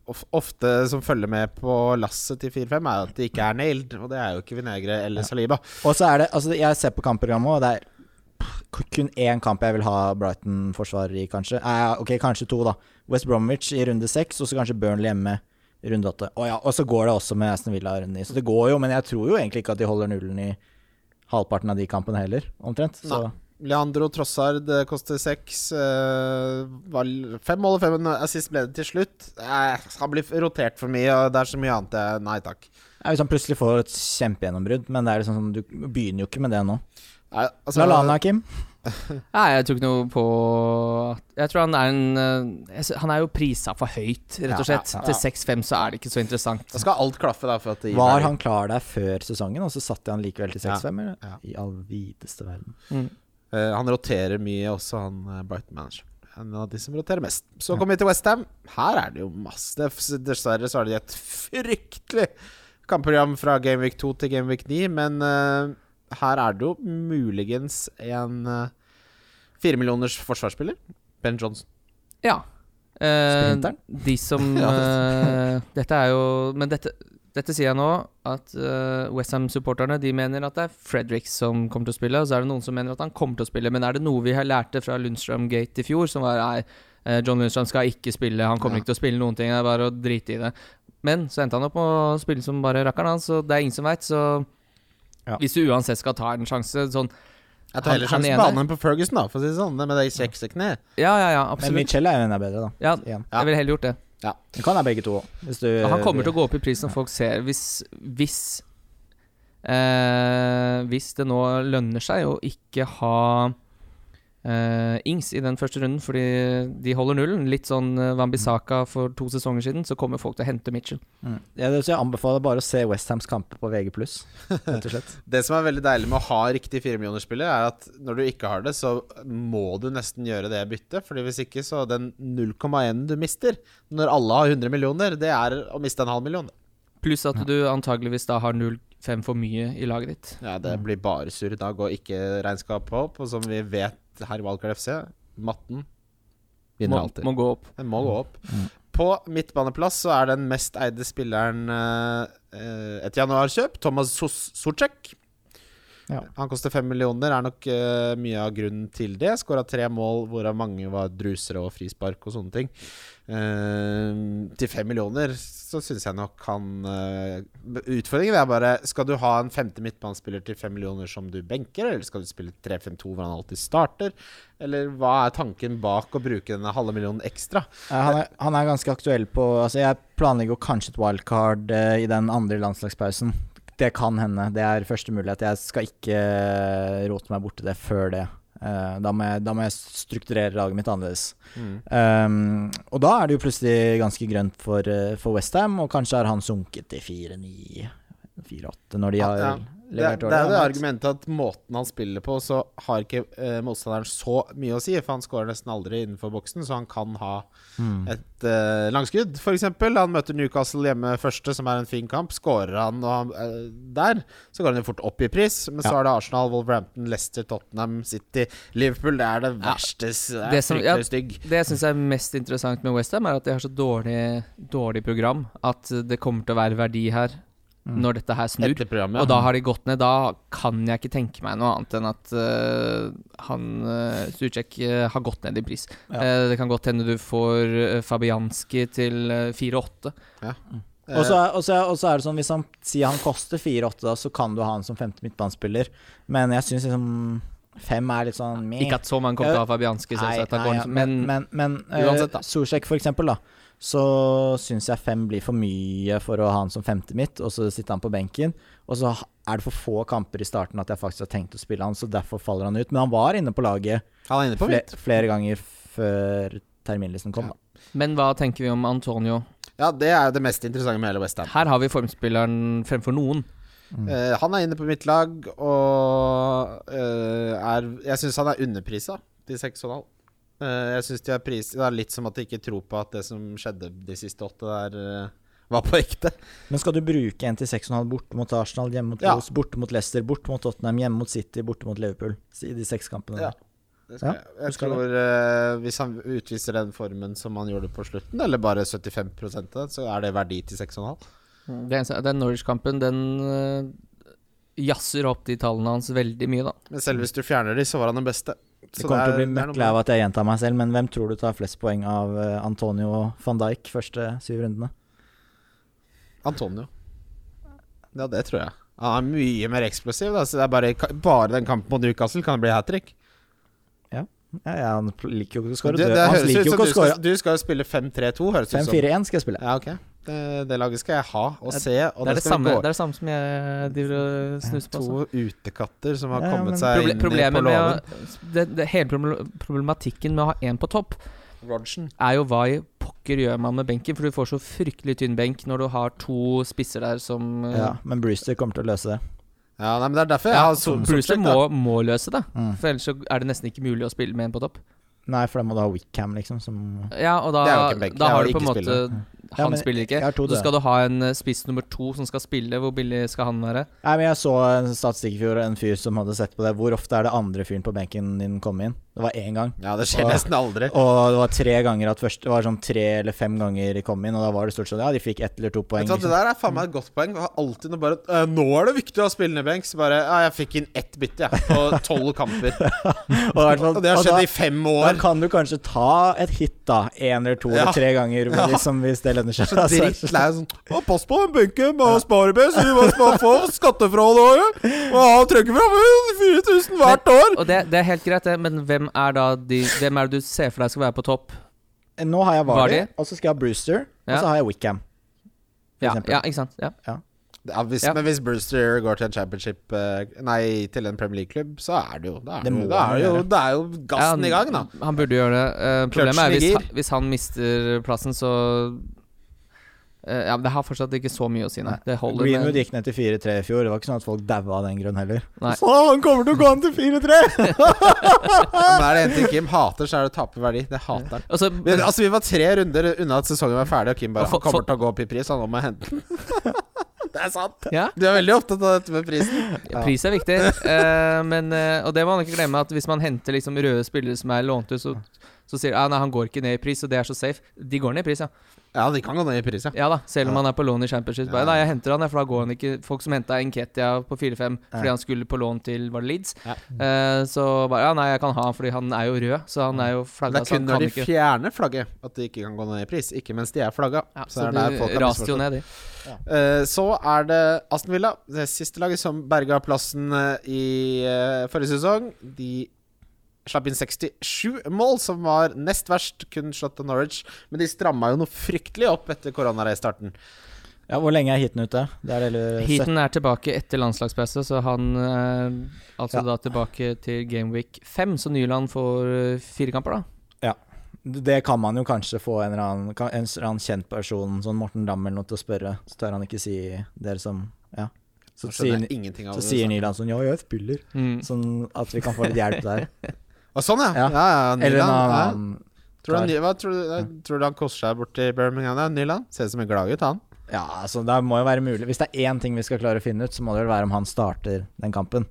of, ofte som følger med på lasset til 4-5, er at de ikke er nailed, og det er jo ikke Vinegre eller Saliba.
Og så er det Altså, jeg ser på kampprogrammet, og det er k- kun én kamp jeg vil ha Brighton-forsvarer i, kanskje. Eh, ok, kanskje to, da. West Bromwich i runde seks, og så kanskje Burnley hjemme i runde åtte. Å ja, og så går det også med Aston Villa i runde ni. Så det går jo, men jeg tror jo egentlig ikke at de holder nullen i halvparten av de kampene heller, omtrent. Så
Nei. Leandro Trossard eh, koster seks. eh, var l- fem mål og fem assist ble det til slutt. Eh, han blir rotert for mye, og det er så mye annet jeg Nei takk.
ja, hvis han plutselig får et kjempegjennombrudd, men det er liksom sånn, du begynner jo ikke med det nå.
Nei, altså,
Lallana, Kim.
Nei, jeg tok noe på at Jeg tror han er en eh, jeg sy- Han er jo prisa for høyt, rett
Ja,
og slett.
ja, ja.
Til 6-5 så er det ikke så interessant.
Da skal alt klaffe, da. For at det gir
Var
meg-
han klar der før sesongen, og så satte han likevel til
Ja.
6-5? eller?
Ja.
I all videste verden.
Mm.
Eh, han roterer mye også, han eh, Brighton-manageren. En av de som roterer mest. Så kommer vi til Westham. Her er det jo masse det- Dessverre så har de et fryktelig kampprogram fra Gameweek 2 til Gameweek 9, men eh, her er det jo muligens en eh, fire millioners forsvarsspiller. Ben Johnson.
Ja. Eh,
Sprinteren?
de som eh, Dette er jo Men dette, dette sier jeg nå, at eh, Westham-supporterne De mener at det er Fredrik som kommer til å spille, og så er det noen som mener at han kommer til å spille. Men er det noe vi har lærte fra Lundstrøm Gate i fjor, som var nei, eh, John Lundstrøm skal ikke spille, han kommer
Ja.
ikke til å spille noen ting, det er bare å drite i det. Men så endte han opp med å spille som bare rakkeren hans, så det er ingen som veit, så
Ja.
Hvis du uansett skal ta en sjanse, sånn
Jeg tar
Han-
heller
han
sjansen
ene-
på han enn på Ferguson, da, for å si det sånn. Det Med det kjekksekne.
Ja, ja, ja,
Men
absolutt.
Michelle er jo enda bedre, da.
Ja,
Igjen.
Ja.
jeg ville heller gjort det.
Det kan være begge to også, hvis du
Og han kommer til å gå opp i pris når folk ser Hvis Hvis, eh, hvis det nå lønner seg å ikke ha eh, Ings i den første runden fordi de holder nullen, litt sånn eh, Wambisaka for to sesonger siden, så kommer folk til å hente Mitchell.
Mm. Ja, det vil si, Jeg anbefaler bare å se Westhams kamper på VG+, rett og slett.
Det som er veldig deilig med å ha riktig firemillionersspiller, er at når du ikke har det, så må du nesten gjøre det byttet. Fordi hvis ikke, så den 0,1 du mister når alle har 100 millioner, det er å miste en halv million.
Pluss at du antageligvis da har 0,5 for mye i laget ditt.
Ja, det blir bare surr i dag, og ikke regnskap på opp. Og som vi vet her i Wildcard FC, matten vinner
Må,
alltid.
må gå opp.
Den må gå opp. På midtbaneplass så er den mest eide spilleren eh, et januarkjøp, Thomas Sos Sorcek.
Ja.
Han koster fem millioner, er nok eh, mye av grunnen til det. Skåra tre mål, hvorav mange var drusere og frispark og sånne ting. Eh, til fem millioner så syns jeg nok han eh, Utfordringen er bare Skal du ha en femte midtbanespiller til fem millioner som du benker, eller skal du spille 3-5-2 hvor han alltid starter? Eller hva er tanken bak å bruke denne halve millionen ekstra?
Eh, Han er, han er ganske aktuell på Altså, jeg planlegger jo kanskje et wildcard eh, i den andre landslagspausen. Det kan hende. Det er første mulighet. Jeg skal ikke eh, rote meg borti det før det. Eh, da, må jeg, da må jeg strukturere laget mitt annerledes.
Mm.
Um, og da er det jo plutselig ganske grønt for, eh, for Westham, og kanskje har han sunket til 4-9, 4-8 når de
Ja,
har
ja. Det, er-
levert
det er jo det
dårlig.
argumentet at måten han spiller på, så har ikke eh, motstanderen så mye å si. For han skårer nesten aldri innenfor boksen, så han kan ha
Mm.
et eh, langskudd, f.eks. Han møter Newcastle hjemme første, som er en fin kamp. Skårer han og han, eh, der, så går han jo fort opp i pris. Men så er det Arsenal, Wolverhampton, Leicester, Tottenham, City, Liverpool. Det er det verste Det er
Det som- ja.
fryktelig stygg.
Det jeg syns er mest interessant med Westham, er at de har så dårlig, dårlig program at det kommer til å være verdi her når dette her snur.
Etter programmet.
Og da har de gått ned. Da kan jeg ikke tenke meg noe annet enn at øh, han uh, Sucek øh, har gått ned i pris.
Ja.
Eh, det kan godt hende du får øh, Fabianski til øh, 4-8.
Eh,
Og så er, og så er, og så er det sånn, hvis han sier han koster 4-8, da, så kan du ha han som femte midtbanespiller. Men jeg syns liksom fem er litt sånn meh.
Ikke at så mange kommer til å ha
Nei,
Fabianski, selvsagt. da
nei,
går
ja,
han-
men,
men
men, men
Uansett, da.
eh, Solskjær, for eksempel, da. Så syns jeg fem blir for mye for å ha han som femte mitt, og så sitter han på benken. Og så ha- er det for få kamper i starten at jeg faktisk har tenkt å spille han, så derfor faller han ut. Men han var inne på laget
Han er inne på
fle
mitt.
flere ganger før terminlisten kom, da.
men hva tenker vi om Antonio?
Ja, det er jo det mest interessante med hele Westham.
Her har vi formspilleren fremfor noen.
Mm.
Eh, han er inne på mitt lag, og eh, er Jeg syns han er underprisa til 6,5. Eh, jeg synes de er pris, Det er litt som at de ikke tror på at det som skjedde de siste åtte der, eh, var på ekte.
Men skal du bruke 1 til 6,5 borte mot Arsenal, hjemme mot
Ja.
Wolves, borte mot Leicester, borte mot Tottenham, hjemme mot City, borte mot Liverpool Så i de seks kampene?
Ja.
der.
Det skal,
Ja,
jeg- jeg
skal
tror eh, Hvis han utviser den formen som han gjorde på slutten, eller bare 75 av det, så er det verdi til 6,5.
Det eneste, den Norwich-kampen, den øh, jazzer opp de tallene hans veldig mye, da.
Men selv hvis du fjerner de, så var han den beste.
Mm. Det
Så
kommer
er-
til å bli
det er noe
møkk lei av at jeg gjentar meg selv, men hvem tror du tar flest poeng av eh, Antonio og van Dijk første syv rundene?
Antonio. Ja, det tror jeg. Han er mye mer eksplosiv. Da. Så det er bare, bare den kampen mot Newcastle kan det bli hat trick.
Ja, ja, han pl- liker jo ikke å
Du,
skåre.
det
Du, han
høres ut
liker jo
som
ikke
du
å
skal,
skåre.
du skal jo spille 5-3-2, høres det ut som.
5-4-1 skal jeg spille.
Ja, ok. Det, det laget skal jeg ha og se. Og
Det er det,
skal vi
samme,
gå-
det er det samme som jeg driver og snuser på. altså.
To utekatter som har
Ja, men
kommet seg
Proble
inn i-
problemet
på
med
låven.
å, det, det, hele proble- problematikken med å ha én på topp,
Rodgen.
er jo hva i pokker gjør man med benken? For du får så fryktelig tynn benk når du har to spisser der som eh,
Ja, men Brewster kommer til å løse det.
Ja, nei, men det er derfor jeg
Ja,
har
så
Solskjær,
Brewster
da.
må, må løse det,
Mm.
for ellers så er det nesten ikke mulig å spille med en på topp.
Nei, for da må du ha Wickham, liksom, som
Ja, og da,
Det er jo ikke en benk, det
da
er jo
har du på en
ikke
måte
spiller.
Ja,
Han
men
spiller
jeg
ikke.
har to
Så
døde.
skal du ha en eh, spiss nummer to som skal spille. Hvor billig skal han være?
Nei, men Jeg så en statistikk i fjor, en fyr som hadde sett på det. Hvor ofte er det andre fyren på benken din komme inn? Det var én gang.
Ja, det skjer
Og-
nesten aldri.
Og det var tre ganger at først, det var sånn tre eller fem ganger de kom inn, og da var det stort sett ja, de fikk ett eller to
Vet du
poeng.
hva, Det
Liksom.
der er faen meg et godt poeng. Jeg har alltid noe bare «Eh, Nå er det viktig å ha spillende benk. Så bare Ja, jeg fikk inn ett bytte, jeg, på tolv kamper.
Og, i hvert fall-
sånn-
Og det har
og da-
skjedd i fem
Da
år.
kan du kanskje ta et hit, da. Én eller to
Ja.
eller tre ganger,
Ja.
liksom, hvis det lønner seg.
Så drittlei sånn Å, pass på den benken, bare spare best, du må spare få skattefradraget. Må ha trøkket fra 4000 hvert år.
Og det, det er helt greit, det, men hvem er da de Hvem er det du ser for deg skal være på topp?
Nå har jeg Vardy,
Vardy.
og så skal jeg ha Brewster,
Ja.
og så har jeg Wickham.
Ja,
eksempel.
ja, ikke sant? Ja.
Ja, hvis,
Ja.
Men hvis Brewster går til en championship eh, Nei, til en Premier League-klubb, så er det jo Da er,
Det
det
må
da
han
er, jo,
gjøre.
da er jo
Ja,
gassen i gang, da.
Han burde gjøre det. Eh, problemet
Clutchen
er
i
hvis,
gir.
han- hvis han mister plassen, så eh, Ja, men det har fortsatt ikke så mye å si, nei. Det holder
Greenwood
med
gikk ned til 4-3 i fjor. Det var ikke sånn at folk daua av den grunn heller.
Nei.
Så han kommer til å gå an til 4-3!
Ja, Men er det en ting Kim hater, så er det å tape verdi. Det hater han.
Altså,
Vi, altså, vi var tre runder unna at sesongen var ferdig, og Kim bare
Og for-
Han kommer
for-
til å gå opp i pris, han nå må jeg hente den. det er sant.
ja,
Du er veldig opptatt av dette med prisen.
pris er viktig, eh, men eh, Og det må man ikke glemme, at hvis man henter liksom røde spillere som er lånt ut, så, så sier de ah, nei, han går ikke ned i pris, og det er så safe. De går ned i pris, ja.
Ja, de kan gå ned i pris, ja.
Ja da, selv om han er på lån i Championship. Bare, Nei, jeg henter han, ja, for da går han ikke Folk som henta Enketia på 4-5 fordi han skulle på lån til var det Leeds,
Ja.
Eh, så bare ja, nei, jeg kan ha han fordi han er jo rød, så han er jo
Men det
flagga,
er kun
så altså, han
når
kan
de
ikke
fjerner flagget, at de ikke kan gå ned i pris. Ikke mens de er flagga.
ja,
Så,
Så
det er der folk
de
har
raste jo
misforstått.
ned, de.
Eh, Så er det Aston Villa, det siste laget som berga plassen eh, i eh, forrige sesong. De slapp inn 67 mål, som var nest verst, kun slått av Norwich. Men de stramma jo noe fryktelig opp etter koronareistarten.
Ja, hvor lenge er heaten ute? Det er det eller-
Heaton er tilbake etter landslagspause, så han er altså
Ja.
da tilbake til Gameweek 5, så Nyland får eh, fire kamper, da.
Det kan man jo kanskje få en eller annen, kan- en eller annen kjent person, sånn Morten Damm eller noe, til å spørre. Så tør han ikke si dere som Ja. Så,
Så skjønner
sier,
jeg ingenting av
så
Altså, det. liksom.
sier Nyland sånn Ja, jeg spiller.
Mm.
Sånn at vi kan få litt hjelp der.
Å, sånn, ja. ja.
Ja.
ja, ja
Eller en
Nyland, ja.
annen
Tror, du han, hva, tror, du, nei, tror du han koser seg borti Birmingham? Ja, Nyland? Ser ut som en gladgutt, han.
Ja, altså det må jo være mulig. Hvis det er én ting vi skal klare å finne ut, så må det vel være om han starter den kampen.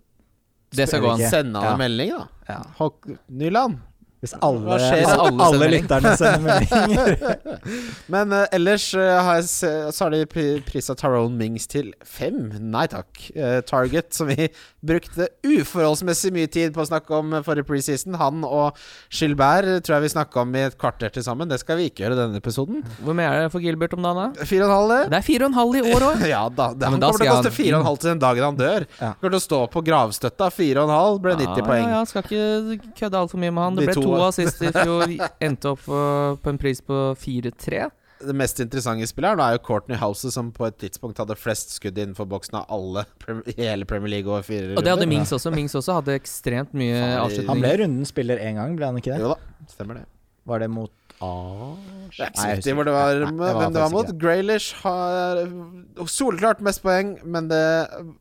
Det skal gå an.
ikke.
Send han
Ja.
en melding, da.
Ja.
Hok Nyland.
Hvis alle,
Hva skjer
hvis
hvis alle
alle,
sender melding?
lytterne sender meldinger.
Men eh, ellers eh, har jeg se, så har de pri prisa Tyrone Mings til fem. Nei takk. Eh, Target, som vi brukte uforholdsmessig mye tid på å snakke om eh, forrige preseason, han og Gilbert eh, tror jeg vi snakka om i et kvarter til sammen. Det skal vi ikke gjøre i denne episoden.
Hvor mye er det for Gilbert om dagen, da?
Fire og en halv, det.
Det er fire og en halv i år òg!
Ja da. Det,
men
han kommer til
da
å
skal
koste
han-
fire og en halv til den dagen han dør.
Ja.
Kommer til å stå på gravstøtta. Fire og en halv ble 90 poeng.
Ah, Ja, ja, skal ikke kødde altfor mye med han. Det
De
ble
to-
to assist i fjor. Endte opp eh, på en pris på 4-3.
Det mest interessante spilleren da er jo Courtney House, som på et tidspunkt hadde flest skudd innenfor boksen av alle prem- i hele Premier League over fire
Og det hadde
runder.
Mings også. Mings også hadde ekstremt mye
Faen, de-
Han ble
avslutninger.
runden spiller én gang, ble han ikke det?
Jo da, stemmer det.
Var det mot A
Det er
Ah, Nei,
ikke
jeg
så viktig
husker
hvor det var,
ikke. Nei, det var
hvem det var
faktisk
mot.
ikke.
Graylish har soleklart mest poeng, men det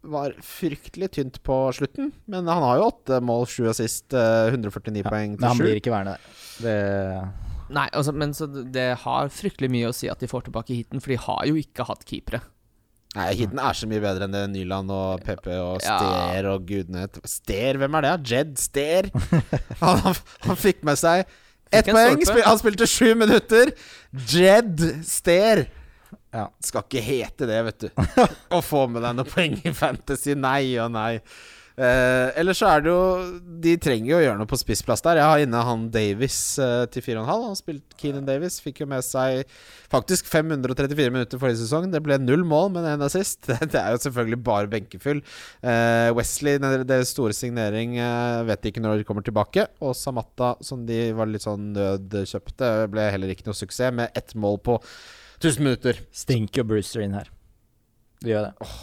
var fryktelig tynt på slutten. Men han har jo åtte mål, sju assist, eh, 149
Ja,
poeng
Men han
til
blir
sju.
ikke værende der. Det
Nei, altså, men så det har fryktelig mye å si at de får tilbake heaten, for de har jo ikke hatt keepere.
Nei, Hidden er så mye bedre enn det Nyland og Pepe og
Ja.
Ster og gudene vet- Ster, hvem er det? da? Jed Ster? Han, han, han fikk med seg ett
en
poeng.
stolpe.
Spil, han spilte sju minutter. Jed Ster.
Ja.
Skal ikke hete det, vet du. Å få med deg noen poeng i Fantasy. Nei og nei. Eh, ellers så er det jo De trenger jo å gjøre noe på spissplass der. Jeg har inne han Davies eh, til 4,5. Han spilte Keenan Davies. Fikk jo med seg faktisk 534 minutter forrige sesong. Det ble null mål, men én assist. Det er jo selvfølgelig bare benkefyll. Eh, Wesley, den- deres store signering, eh, vet ikke når de kommer tilbake. Og Samata, som de var litt sånn nødkjøpte, ble heller ikke noe suksess, med ett mål på 1000 minutter.
Stinker jo Brewster inn her. Det gjør det.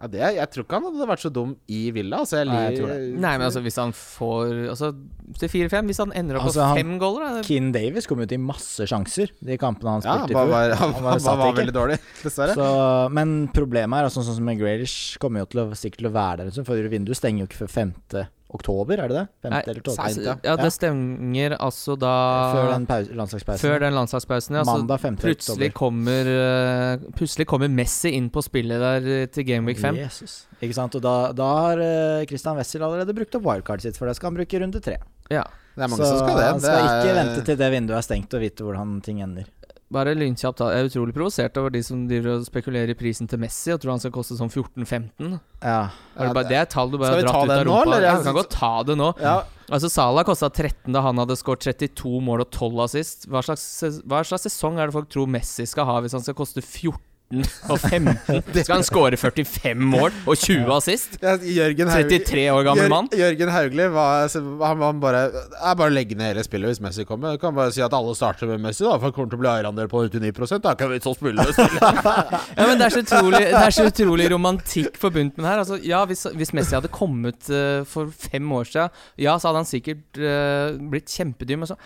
Ja, det, jeg tror ikke han hadde vært så dum i Villa. Altså, jeg,
Nei, jeg
lir-
tror det.
Nei, men altså, hvis han får Altså, til 4-5, hvis han ender opp
Altså, han-
på fem goaler, da det-
Keane Davies kom jo til masse sjanser de kampene han
Ja, han
spilte i
var,
fjor.
var, han
Han
var,
bare satt
var
ikke.
veldig dårlig, dessverre.
Så, men problemet er altså, sånn som med Grealish kommer jo til å, sikkert til å være der, liksom, for vinduet stenger jo ikke før 5. oktober, er det det? 5.
Nei,
eller 12.
seint,
altså,
ja.
Ja,
Ja.
det stemmer altså
før
da
den pause, landslagspausen.
Før den landslagspausen, ja. Så
Mandag 5.
plutselig
oktober.
kommer, eh, plutselig kommer Messi inn på spillet der eh, til Gameweek 5.
Jesus. Ikke sant? Og da, da har eh, Christian Wessel allerede brukt opp wildcardet sitt, for det skal han bruke i runde tre.
Ja.
Det er mange
Så
som skal det.
han
det
skal
er,
ikke vente til det vinduet er stengt og vite hvordan ting ender.
Bare lynkjapt, da. Jeg er utrolig provosert over de som driver og spekulerer i prisen til Messi og tror han skal koste sånn 14-15.
Ja.
Er det, bare, det er tall du bare
Skal vi
har
ta
dratt ut av
den nå,
rumpa.
eller?
Ja, vi kan godt ta det nå.
ja,
Altså Salah kosta 13 da han hadde skåret 32 mål og 12 assist. Hva slags, ses- hva slags sesong er det folk tror Messi skal ha hvis han skal koste 14 og 15? Skal han skåre 45 mål og 20 assist?
ja, Jørgen Haug-
33 år gammel
Jør-
mann?
Jørgen Hauglie var, altså, han, han bare er bare å legge ned hele spillet hvis Messi kommer. Du kan bare si at alle starter med Messi, da, for han kommer til å bli eierandel på 99 Da kan vi så spille det.
Ja, men det er så utrolig, det er så utrolig romantikk forbundet med det her. Altså, ja, hvis, hvis Messi hadde kommet eh, for fem år siden, ja, så hadde han sikkert eh, blitt kjempedyr. Men så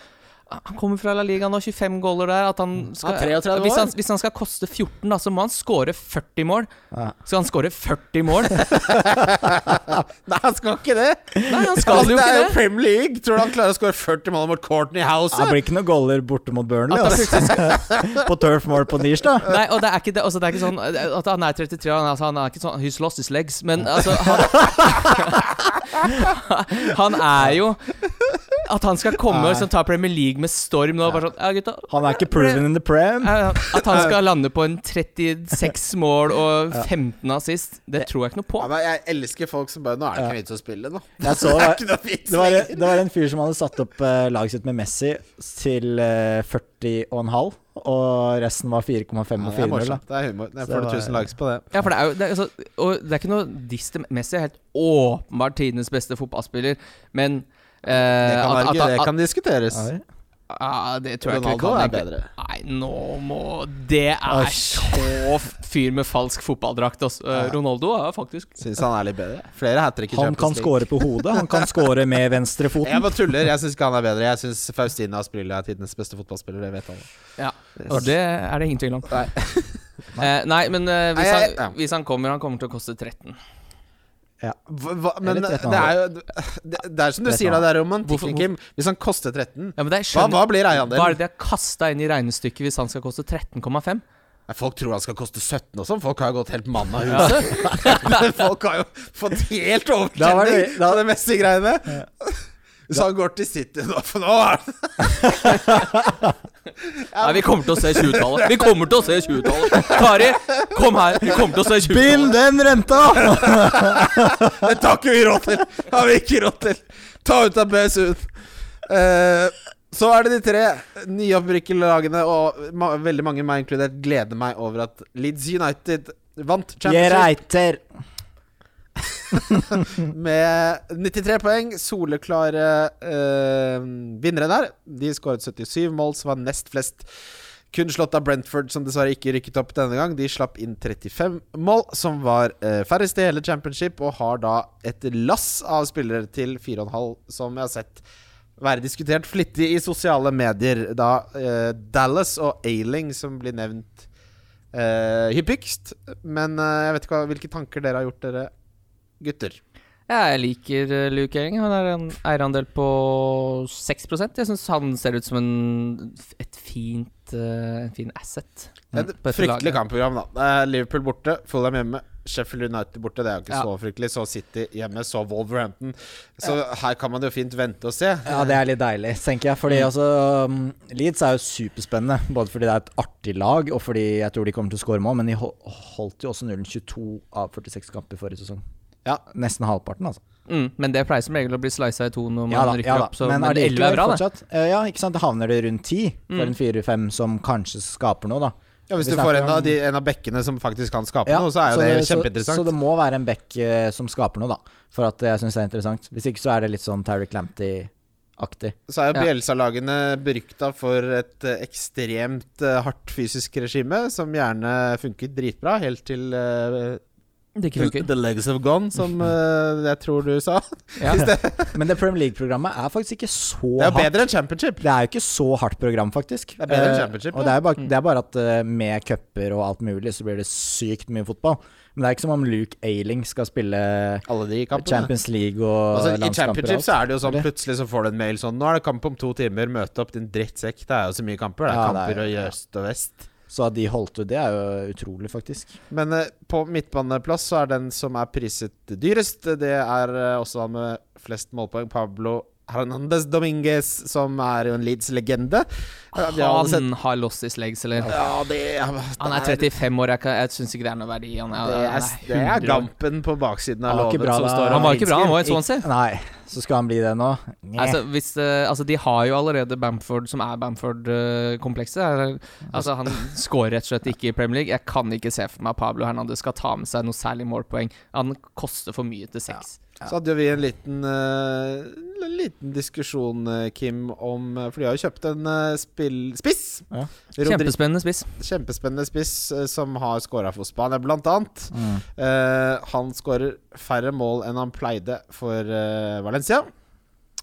Han kommer fra La Liga nå, 25 goaler der. At han skal,
Mm. Han er 33
hvis, han,
år.
hvis han skal koste 14, da, så må han score 40 mål.
Ja.
Skal han score 40 mål?
Nei, han skal ikke det! Altså,
Nei, han skal jo
det er jo
ikke det.
Premier League! Tror du han klarer å skåre 40 mål mot Courtney House?
Det
Ja?
blir ikke noen goller borte mot Burnley,
At han
altså. på Turf Moor på tirsdag.
Nei, og det er ikke, det, altså, det er ikke sånn eh, at han er 33 han, er- altså, han er ikke sånn He's lost his legs. Men altså Han, han er jo At han skal komme
Nei.
og liksom, ta Premier League med storm nå bare sånn, ja, gutta,
Han er ikke proven in the prem.
eh, At han skal lande på en 36 mål og 15 assist, det tror jeg ikke noe på.
Ja, men jeg elsker folk som bare Nå er det ikke vits å spille nå.
Jeg så
Det er ikke noe vits
Det var,
lenger.
det var en fyr som hadde satt opp eh, laget sitt med Messi til eh, 40,5, og resten var 4,5
Ja,
og
det er
4-0. da.
morsomt. Det er humor. Jeg
Så
får
det var-
1000 likes på det.
Ja, for det er jo det er, altså, Og det er ikke noe diss til Messi, er helt åpenbart tidenes beste fotballspiller, men eh,
Det kan,
at-
være,
at-
det
at-
kan diskuteres.
Ja,
Ja, det tror jeg ikke vi
Ronaldo
kan.
er
egentlig.
bedre.
Nei, nå må Det er så fyr med falsk fotballdrakt, altså. Eh, Ronaldo er faktisk
Syns han er litt bedre. Flere hat trick i
Han kan
Champions League.
score på hodet, han kan score med venstrefoten.
Jeg bare tuller. Jeg syns ikke han er bedre. Jeg syns Faustina Asprilla er tidenes beste fotballspiller. Det vet alle.
Ja, og det er det ingen tvil om.
Nei.
Eh, nei, men eh, hvis,
Nei,
han,
jeg- ja.
hvis han kommer, han kommer til å koste 13.
Hva, hva, men
Eller
det
13,5.
er jo Det, det er som du
Vet
sier,
hva.
da. Det er romantikken,
Hvorfor-
Kim. Hvis han koster 13
Ja, men det er,
hva, hva blir
skjønner, hva er det
eierandelen?
de har kasta inn i regnestykket hvis han skal koste 13,5?
Nei, Folk tror han skal koste 17 og sånn. Folk har jo gått helt mann av huset. Folk har jo fått helt
Da var
overtenning
det-
av det meste greiene. Hvis han går til City nå, for nå er det
Nei, vi kommer til å se 20-tallet! Vi kommer til å se 20-tallet! Kari, kom her! Vi kommer til å se 20-tallet!
Bind den renta!
Det tar ikke vi råd til! Det har vi ikke råd til! Ta ut av BSU-en. Eh, så er det de tre nyopprykkede og ma veldig mange, meg inkludert, gleder meg over at Leeds United vant
Jeg
Championship
reiter.
med 93 poeng. Soleklare eh, vinnere der. De skåret 77 mål, som var nest flest. Kun slått av Brentford, som dessverre ikke rykket opp denne gang. De slapp inn 35 mål, som var eh, færrest i hele championship, og har da et lass av spillere til 4,5, som jeg har sett være diskutert flittig i sosiale medier. Da eh, Dallas og Ailing som blir nevnt eh, hyppigst. Men eh, jeg vet ikke hva, hvilke tanker dere har gjort, dere gutter.
Ja, jeg liker eh, Luke Elling. Han er en eierandel på 6 Jeg syns han ser ut som en, et fint, eh, en fin asset.
Et
Mm. på dette
fryktelig
laget.
kampprogram, da. Det er Liverpool borte, Fulham hjemme. Sheffield United borte, det er jo ikke
Ja.
så fryktelig. Så City hjemme, så Wolverhampton. Så her kan man jo fint vente og se.
Ja, det er litt deilig, tenker jeg.
Mm.
Fordi altså um, Leeds er jo superspennende. Både fordi det er et artig lag, og fordi jeg tror de kommer til å skåre mål. Men de hol- holdt jo også nullen 22 av 46 kamper forrige sesong.
Ja.
Nesten halvparten, altså.
Mm, men det pleier som regel å bli slisa i to når man
Ja da,
rykker
ja da.
opp, så
men
men, 11
allikevel
er bra, det. Mm.
fortsatt. eh, ja, ikke sant. Da havner det rundt ti for en fire-fem som kanskje skaper noe, da.
Ja, Hvis
Vi
du får
snakker
en av,
om-
de, en av bekkene som faktisk kan skape
Ja,
noe, så er jo det,
så-
kjempeinteressant.
Så, det må være en back eh, som skaper noe, da. For at jeg syns det er interessant. Hvis ikke så er det litt sånn Terry Clanty-aktig.
Så er jo
Ja.
Bjelsa-lagene berykta for et eh, ekstremt eh, hardt fysisk regime, som gjerne funker dritbra, helt til eh,
Det ikke
the,
funker.
the legs have gone, som eh, jeg tror du sa.
Ja.
Men det Premier League-programmet er faktisk ikke så
Det er jo
hardt.
bedre enn championship.
Det er jo ikke så hardt program, faktisk.
Det er bedre enn
Eh,
championship,
og det er, jo bare, det er bare at eh, med cuper og alt mulig, så blir det sykt mye fotball. Men det er ikke som om Luke Ailing skal spille
Alle de kampene.
Champions League og
Altså, I
landskamper og
championship
alt.
så er det jo sånn
Eller?
plutselig så får du en mail sånn Nå er det kamp om to timer, møte opp din drittsekk. Det er jo så mye kamper. Det er
Ja, det er-
kamper i
ja.
øst og vest.
Så at de holdt ut, det er jo utrolig, faktisk.
Men eh, på midtbaneplass så er den som er priset dyrest, det er eh, også han med flest målpoeng, Pablo Hernandez Dominguez, som er jo en Leeds-legende. Ja, vi har alle sett-
Han har lost his legs, eller?
Ja, det
Han er 35 år, jeg, kan- jeg syns ikke det er noe verdi. Han er,
Det
han
er, det er
100 år.
Gampen på baksiden av
Han var ikke
låven
bra
som
da-
står
Han
og
var ikke bra, han var i
Ikke-
Swansea.
Nei, så skal han bli det nå? Nye.
Altså, hvis, eh, altså, de har jo allerede Bamford, som er Bamford-komplekset. altså, han scorer rett og slett ikke i Premier League. Jeg kan ikke se for meg at Pablo Hernandez skal ta med seg noe særlig målpoeng. Han koster for mye til seks.
Så hadde jo vi en liten, eh, en liten diskusjon, eh, Kim, om eh, For de har jo kjøpt en eh, spill... Spiss!
Ja.
Rodri-
Kjempespennende spiss.
Kjempespennende spiss eh, som har scora for Spania, blant annet.
Mm.
Eh, han skårer færre mål enn han pleide for eh, Valencia,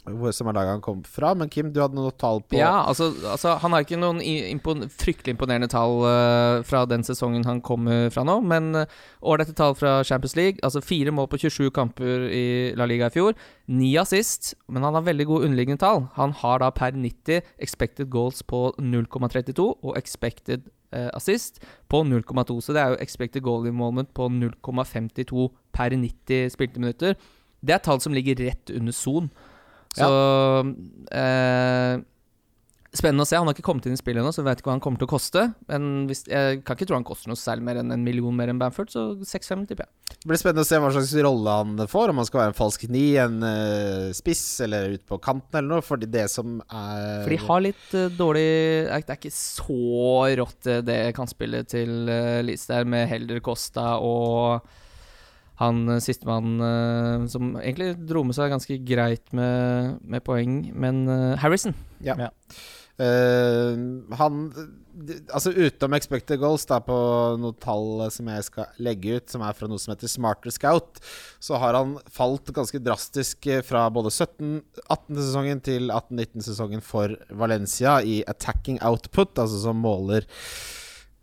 hvor- som er laget han kom fra. Men Kim, du hadde noe tall på
Ja, altså, altså Han har ikke noen i- impon fryktelig imponerende tall eh, fra den sesongen han kom eh, fra nå, men eh, året etter tall fra Champions League, altså fire mål på 27 kamper i La Liga i fjor, ni assist, men han har veldig gode underliggende tall. Han har da per 90 expected goals på 0,32 og expected eh, assist på 0,2, så det er jo expected goal involvement på 0,52 per 90 spilte minutter. Det er tall som ligger rett under son. Så eh, Spennende å se. Han har ikke kommet inn i spillet ennå, så vi vet ikke hva han kommer til å koste. Men hvis, jeg kan ikke tro han koster noe særlig mer enn en million mer enn Bamford, så 6-5 tipper jeg.
Det blir spennende å se hva slags rolle han får, om han skal være en falsk ni, en eh, spiss eller ut på kanten eller noe. Fordi det som er
For de har litt eh, dårlig Det er ikke så rått eh, det kantspillet til uh, Leeds der, med Helder Costa og han eh, sistemann eh, som egentlig dro med seg ganske greit med, med poeng, men eh, Harrison
Eh, han d- Altså utenom expected goals, da, på noe tall som jeg skal legge ut, som er fra noe som heter Smarter Scout, så har han falt ganske drastisk eh, fra både 17-18-sesongen til 18-19-sesongen for Valencia i attacking output, altså som måler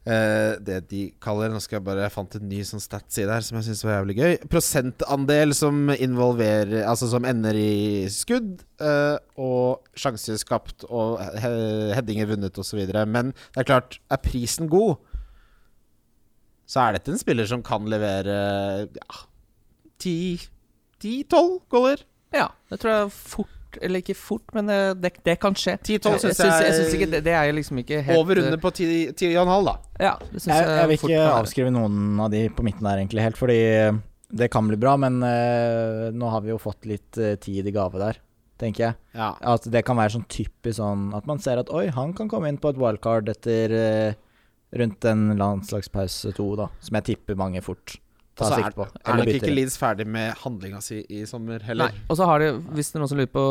eh, det de kaller Nå skal jeg bare jeg fant en ny sånn stat-side her som jeg syns var jævlig gøy. Prosentandel som involverer Altså som ender i skudd, eh, og sjanser skapt og he headinger vunnet osv. Men det er klart, er prisen god, så er dette en spiller som kan levere ja, 10-12 goller.
Ja, det tror jeg fort eller ikke fort, men eh, det, det kan skje.
10-12
Jeg- jeg
synes jeg
synes- jeg
er-
synes ikke, det, det er liksom ikke helt
Over
eh,
under på 10 10,5, da.
Ja, det syns
Jeg,
jeg,
jeg vil
eh, fort
ikke
kan være.
avskrive noen av de på midten der, egentlig, helt, fordi eh, det kan bli bra, men eh, nå har vi jo fått litt eh, tid i gave der, tenker jeg.
Ja.
At det kan være sånn typisk sånn at man ser at oi, han kan komme inn på et wildcard etter eh, rundt en landslagspause to, da, som jeg tipper mange fort
Og
tar
så Altså, er,
sikte på.
er
Eller
nok
bytter.
ikke Leeds ferdig med handlinga si i sommer heller.
Nei, og så har de, hvis det er noen som lurer på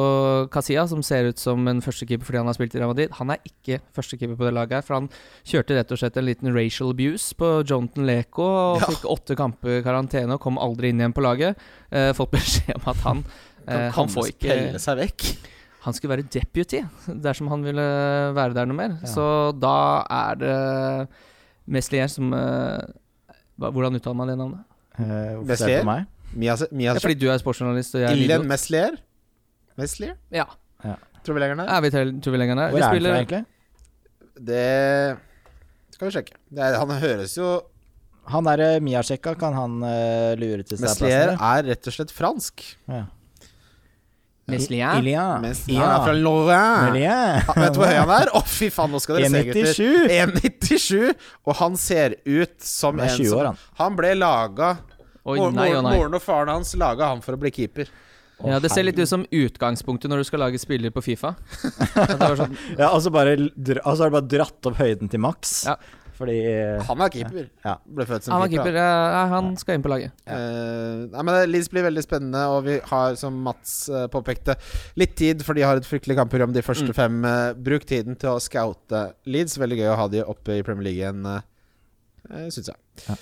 Casilla, som ser ut som en førstekeeper fordi han har spilt i Real Madrid, han er ikke førstekeeper på det laget her, for han kjørte rett og slett en liten racial abuse på Jonathan Leko og
Ja.
fikk åtte kamper i karantene og kom aldri inn igjen på laget. Eh, fått beskjed om at han eh, Han får ikke
pelle seg vekk.
Han skulle være deputy dersom han ville være der noe mer.
Ja.
Så da er det Meslier som eh, hva- Hvordan uttaler man det navnet?
Eh, hvorfor
Meslier?
ser du på meg?
Mia, Mia
Ja, fordi du er sportsjournalist og jeg er
Illen
idiot.
Meslier. Meslier?
Ja,
Tror vi lenger ned?
er vi til, tror vi lenger ned?
Hvor
Vi
er han fra,
spiller
egentlig?
Det skal vi sjekke. Det er, han høres jo
Han derre Miasjekka, kan han eh, lure til seg
Meslier
plassen?
er rett og slett fransk.
Ja.
Meslier?
Ilian.
Mens
Ja.
han er fra Lorraine.
Meslier.
Ja, vet du hvor høy han er? Å, fy faen, nå skal dere se,
E
gutter.
1,97!
1,97! Og han ser ut som
Han er
en
20 år,
som
han.
Han ble laga
Oi,
Mor-
nei og
mor-
nei.
Moren og faren hans laga han for å bli keeper.
Å,
Ja, Det ser litt
herregud.
ut som utgangspunktet når du skal lage spiller på Fifa. At det var sånn,
Ja, og så bare dra- og så har du bare dratt opp høyden til maks.
Ja.
Fordi eh,
Han var keeper.
Ja.
Ble født som
han var
keeper.
keeper.
da.
eh, Nei, han skal inn på laget.
Eh, nei, men det- Leeds blir veldig spennende, og vi har, som Mats eh, påpekte, litt tid, for de har et fryktelig kampprogram de
Mm.
første fem. Eh, bruk tiden til å scoute Leeds. Veldig gøy å ha de oppe i Premier League igjen, eh, eh, syns jeg.
Ja.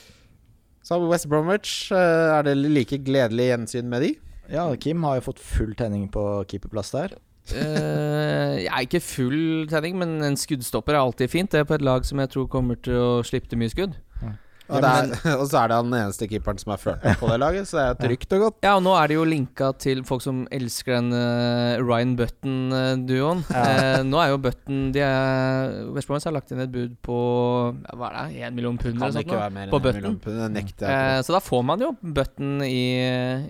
Så har vi West Bromwich. Eh, er det like gledelig gjensyn med de?
Ja, Kim har jo fått full tenning på keeperplass der.
Eh, jeg er ikke full trening, men en skuddstopper er alltid fint. Det er på et lag som jeg tror kommer til å slippe til mye skudd.
Og,
Ja,
det er, og så er det han eneste keeperen som er ført opp på det laget, så det er trygt og godt.
Ja, og nå er det jo linka til folk som elsker den eh, Ryan Button-duoen. Eh, nå er jo Button de er, West Bromwich har lagt inn et bud på ja, Hva er det, 1 million pund?
Kan
eller sånt
ikke
nå?
være mer enn
På
en
button.
million pund, det nekter jeg.
Eh, så da får man jo Button i,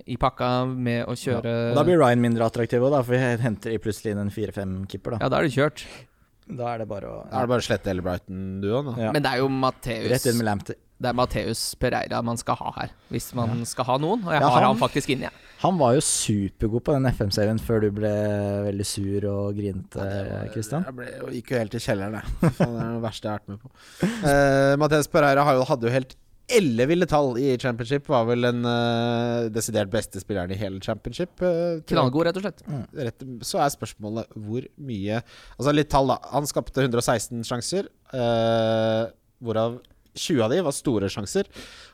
i pakka med å kjøre
Og
Ja,
da blir Ryan mindre attraktiv òg, for vi henter i plutselig inn en 4-5-keeper. Da.
da er det kjørt.
da er det bare å
Da er det bare å slette hele Brighton-duoen, da.
Ja.
Men det er jo
Rett inn
Matheus
med Lamptey.
Det er Matheus Pereira man skal ha her, hvis man skal ha noen. Og jeg
Ja,
har
han-
han faktisk inne, jeg.
Han var jo supergod på den FM-serien før du ble veldig sur og grinete, Kristian.
Jeg ble, jeg gikk jo helt i kjelleren, jeg. Fy faen, Det er det verste jeg har vært med på. Uh, Mathias Pereira har jo, hadde jo helt elleville tall i championship. Var vel den eh, desidert beste spilleren i hele championship. eh, tror jeg.
Knallgod, rett og slett.
Mm.
Rett, så er spørsmålet hvor mye Altså litt tall, da. Han skapte 116 sjanser, eh, hvorav 20 av de var store sjanser.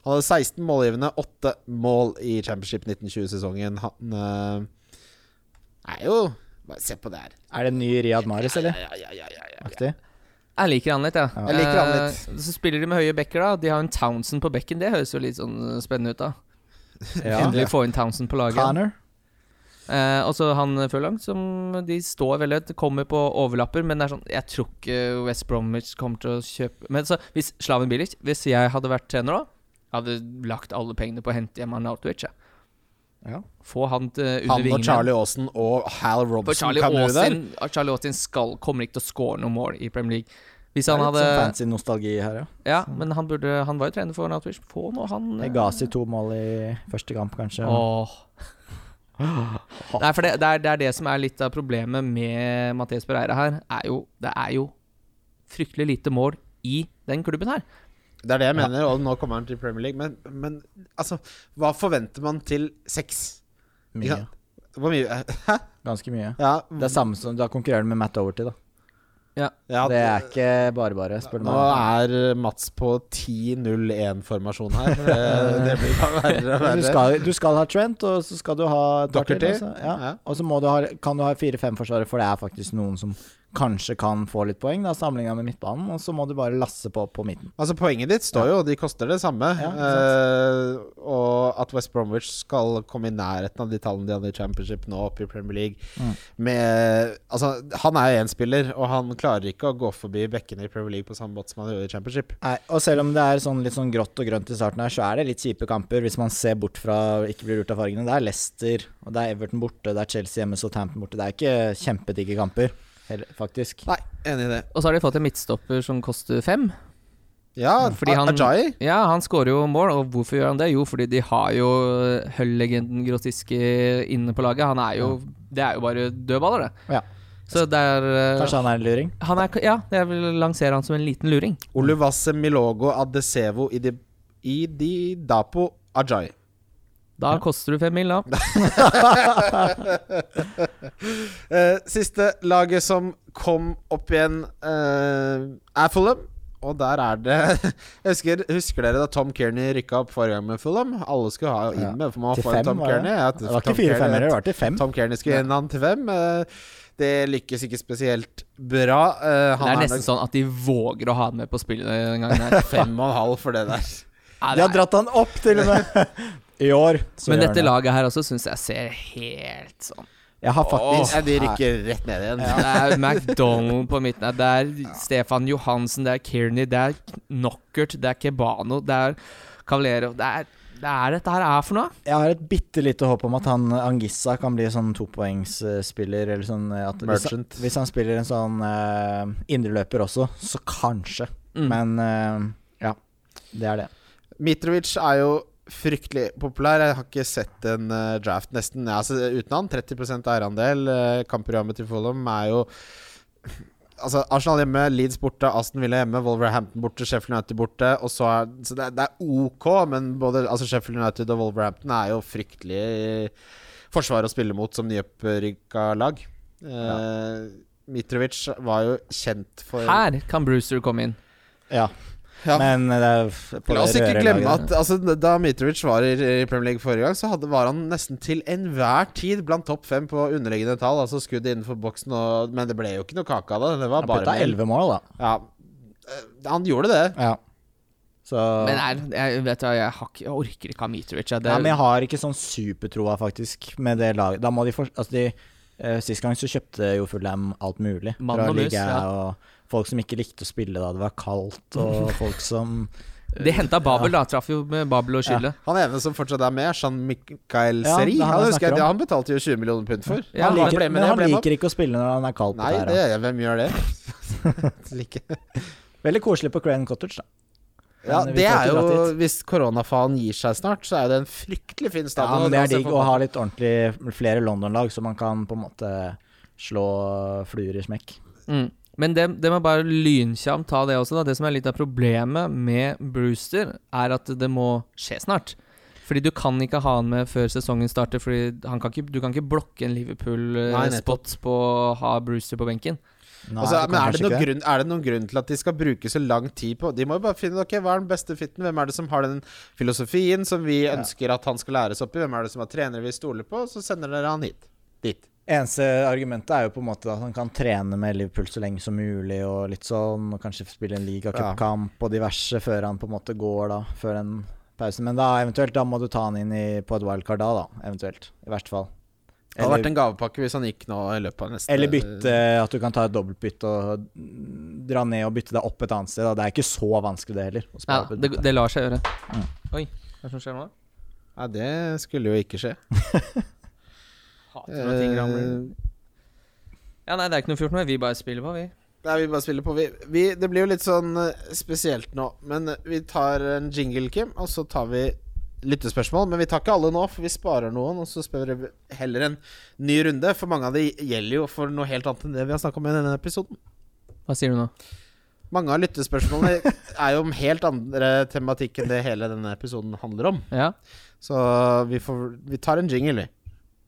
Han hadde 16 målgivende, 8 mål i championship 1920-sesongen. Han eh, er jo Bare se på det her.
Er det en ny Riyad Mahrez, eller?
Ja, ja, ja, ja, ja.
Aktig?
Jeg liker han litt, ja.
Jeg liker han litt.
Eh, Så spiller de med høye backer, da. De har en Townsend på bekken. Det høres jo litt sånn eh, spennende ut, da.
Ja.
Endelig få inn Townsend på laget.
Connor?
Eh, og så han eh, Furlong, som de står veldig høyt. Kommer på overlapper, men det er sånn Jeg tror ikke West Bromwich kommer til å kjøpe Men så, hvis Slaven Bilic Hvis jeg hadde vært trener òg, hadde lagt alle pengene på å hente hjem Arnautovic. jeg.
Ja.
Få han til under
Han og
vingene.
Charlie Aasen og Hal
For
Robson
Charlie
kan jo der.
Aasin Charlie Aasin skal, kommer ikke til å score noe mål i Premier League. Hvis han
Det er litt
hadde
sånn fancy nostalgi her, ja.
Ja, men han burde Han var jo trener for Arnautovic. Få nå han eh,
Egasi to mål i første kamp, kanskje.
Åh. Nei, for det, det, er, det er det som er litt av problemet med Mathias Pereira her. Er jo, det er jo fryktelig lite mål i den klubben her.
Det er det jeg mener, og nå kommer han til Premier League. Men, men altså, hva forventer man til seks?
Mye.
Ja. Hvor mye Hæ?
Ganske mye.
Ja,
Det er samme som Da konkurrerer du med Matt Overty, da.
ja
Det er ikke bare bare, spør du
Nå
meg.
er Mats på 10-0-1-formasjon her. Eh, Det blir bare verre og
Men Du
verre.
skal, du skal ha Trent, og så skal du ha et par
Doherty.
og så- Ja.
Ja.
Og så må du ha, kan du ha fire-fem forsvarere, for det er faktisk noen som kanskje kan få litt poeng, da, sammenligna med midtbanen, og så må du bare lasse på på midten.
Altså Poenget ditt står jo, de koster det samme.
Ja, ikke
Eh, og at West Bromwich skal komme i nærheten av de tallene de hadde i Championship nå, oppe i Premier League med, altså, Han er jo én spiller, og han klarer ikke å gå forbi bekkene i Premier League på samme måte som han gjorde i Championship.
Nei, og selv om det er sånn litt sånn grått og grønt i starten her, så er det litt kjipe kamper hvis man ser bort fra ikke blir lurt av fargene. Det er Leicester, og det er Everton borte, det er Chelsea hjemme, Southampton borte. Det er ikke kjempedigge kamper, heller, faktisk.
Nei, enig i det.
Og så har de fått en midtstopper som koster fem.
Ja,
Fordi han-
Ajay.
Ja, han skårer jo mål, og hvorfor gjør han det? Jo, fordi de har jo Hull-legenden Grotiske inne på laget. Han er jo Det er jo bare dødballer, det.
Ja.
Så det er eh,
Kanskje han er en luring?
han er, Ja, jeg vil lansere han som en liten luring.
Oluvase Milogo Adesevo Idi- Ididapo Ajay.
Da koster du fem mil, da.
Eh, siste laget som kom opp igjen, eh, er Fulham. Og der er det Jeg husker, husker dere da Tom Kearney rykka opp forrige gang med Fulham? Alle skulle ha
Ja.
inn med, for man
Til
får jo
fem,
Tom
var det?
Kearney. Ja,
Det var
Tom
ikke fire
Kearney-
femmere, det var til fem.
Tom Kearney skulle inn han til fem. Eh, det lykkes ikke spesielt bra. Eh,
Det
han
er
nok
nesten sånn at de våger å ha han med på spillet den gangen her.
sånn fem og en halv for det der.
De
Ja, det
har
er-
dratt han opp, til og med! I år. så
Men
gjør han
dette
det.
laget her også syns jeg ser helt sånn
Jeg har faktisk
Åh, de rykker rett ned igjen.
Det er McDonald på midten her, det er Stefan Johansen, det er Kearney, det er Knockert, det er Kebano, det er Cavalero Det er det er dette her er for noe.
Jeg har et bitte lite håp om at han Angissa kan bli sånn topoengsspiller. Eller sånn eh, at hvis, han,
Merchant.
hvis han spiller en sånn uh, indreløper også, så kanskje.
Mm.
Men eh, ja, det er det.
Mitrovic er jo fryktelig populær. Jeg har ikke sett en eh, draft nesten ja, altså, uten han. 30 eierandel. Eh, kampprogrammet til Fulham er jo Altså, Arsenal hjemme, Leeds borte, Aston Villa hjemme, Wolverhampton borte, Sheffield United borte. Og så er, så det, er- det er OK, men både altså Sheffield United og Wolverhampton er jo fryktelig forsvar å spille mot som nyopprykka lag. Eh, Mitrovic var jo kjent for
Her kan Brewster komme inn.
Ja.
Ja.
Men eh, det er f- på
La oss
det
ikke
røde
glemme at
laget.
altså, da Mitrovic var i i Premier League forrige gang, så hadde, var han nesten til enhver tid blant topp fem på underliggende tall. Altså skudd innenfor boksen og Men det ble jo ikke noe kake av det. Det var
Han putta
bare
elleve mål, da.
Ja. Eh, Han gjorde det.
Ja. Så
Men er, jeg vet du, jeg, har ikke, jeg orker ikke ha Mitrovic. jeg. Det,
Ja, men jeg har ikke sånn supertroa, faktisk, med det laget. Da må de for, altså de, eh, Sist gang så kjøpte jo Fulham alt mulig.
Mann
fra
og mus,
ligaer
ja.
og folk som ikke likte å spille da det var kaldt, og folk som
de henta Babel, da. Traff jo med Babel og Skille.
Han ene som fortsatt er med, Jean-Michael
Ja,
Seri,
det er han
han,
jeg
husker jeg,
snakker om.
han betalte jo 20 millioner pund for.
Ja,
han
han
liker,
ble med,
men
jeg
han
ble med.
liker ikke å spille når han er kald på
Nei,
tæra.
det, hvem gjør det? Like.
Veldig koselig på Crane Cottage, da.
ja,
Men vi
det
skal
er
ikke dra
jo
dit.
Hvis koronafaen gir seg snart, så er det en fryktelig fin
Ja,
stadion.
men det
dra
er
og se
digg
fotball
å ha litt ordentlig flere London-lag, så man kan på en måte slå fluer i smekk.
Mm. Men det, det må bare lynkjamt ta det også, da. Det som er litt av problemet med Brewster, er at det må skje snart. Fordi du kan ikke ha han med før sesongen starter, fordi han kan ikke, du kan ikke blokke en
Nei, nettopp.
Liverpool-spot på å ha Brewster på benken.
Nei,
altså,
du kan
men er
kanskje
det, noen
ikke
grunn, er det noen grunn til at de skal bruke så lang tid på De må jo bare finne ut ok, hva er den beste fitten, hvem er det som har den filosofien som vi ønsker at han skal læres opp i, hvem er det som har trenere vi stoler på, så sender dere han hit. Dit.
Eneste argumentet er jo på en måte at han kan trene med Liverpool så lenge som mulig, og litt sånn, og kanskje spille en ligacupkamp og diverse før han på en måte går, da, før den pausen. Men da eventuelt, da må du ta han inn i, på et wildcard da, da, eventuelt. I verste fall.
Det hadde vært
Eller,
en gavepakke hvis han gikk nå i løpet av neste
eller bytte At du kan ta et dobbeltbytte og dra ned og bytte deg opp et annet sted. Da. Det er ikke så vanskelig, det heller. å spare
Ja, Mm.
opp et
det,
bytte.
det lar seg gjøre. Oi, hva er det som skjer nå?
Nei, det skulle jo ikke skje.
Hater når ting ramler.
Eh,
Ja, nei, det er ikke noe å gjøre med. Vi bare spiller på, vi.
Nei, vi bare spiller på, vi. vi. Det blir jo litt sånn eh, spesielt nå, men eh, vi tar en jingle, Kim, og så tar vi lyttespørsmål. Men vi tar ikke alle nå, for vi sparer noen, og så spør vi heller en ny runde. For mange av de gjelder jo for noe helt annet enn det vi har snakka om i denne episoden.
Hva sier du nå?
Mange av lyttespørsmålene er jo om helt andre tematikk enn det hele denne episoden handler om.
Ja.
Så vi, får, vi tar en jingle, vi.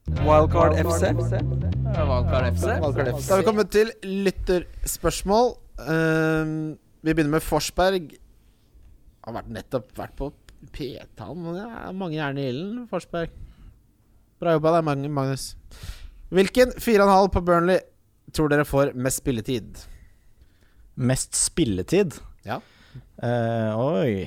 Wildcard FC.
Valgkar FC.
Da har vi kommet til lytterspørsmål. Ehm, vi begynner med Forsberg. Han har vært nettopp vært på PT, han. Det er mange jern i ilden, Forsberg. Bra jobba deg, Mag- Magnus. Hvilken 4,5 på Burnley tror dere får mest spilletid?
Mest spilletid?
Ja.
Eh, oi.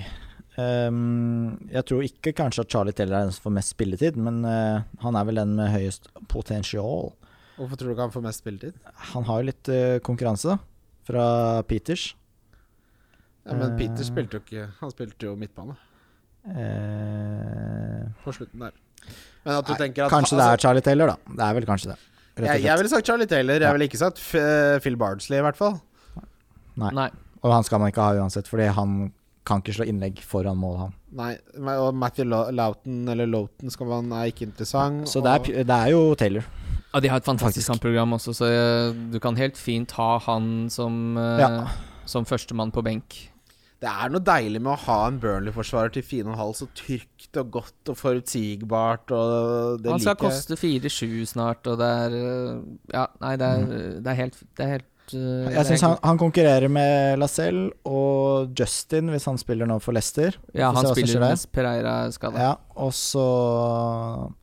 Ehm, jeg tror ikke kanskje at Charlie Taylor er den som får mest spilletid, men eh, han er vel den med høyest potensial.
Hvorfor tror du ikke han får mest spilletid?
Han har jo litt eh, konkurranse da, fra Peters.
Ja, men
Eh.
Peter spilte jo ikke Han spilte jo midtbane
Eh,
på slutten der. Men at du tenker at
kanskje det
altså,
er Charlie Taylor, da. Det er vel kanskje det. Rett og
jeg, jeg
slett.
ville sagt Charlie Taylor. Jeg ville ikke sagt F Phil Bardsley, i hvert fall.
Nei.
Og han skal man ikke ha uansett, fordi han kan ikke slå innlegg foran mål, han.
Nei, men- og Matthew Lo- Loughton eller Loughton skal man, er ikke interessant.
Så det er,
Mm, og-
pu- det er jo Taylor.
Ja, de har et fantastisk kampprogram også, så eh, du kan helt fint ha han som, eh,
Ja.
som førstemann på benk.
det er noe deilig med å ha en Burnley-forsvarer til fine og en halv så trygt og godt og forutsigbart. Og det
Han skal
liker jeg.
koste 4-7 snart, og det er eh, Ja, nei, det er, det er helt Det er helt eh, det er
Mm. Jeg syns han,
helt-
han konkurrerer med Lacelle og Justin, hvis han spiller nå for Leicester.
Ja,
Får
han
se hva som skjer
spiller
der.
mens Pereira er skada.
Ja, og så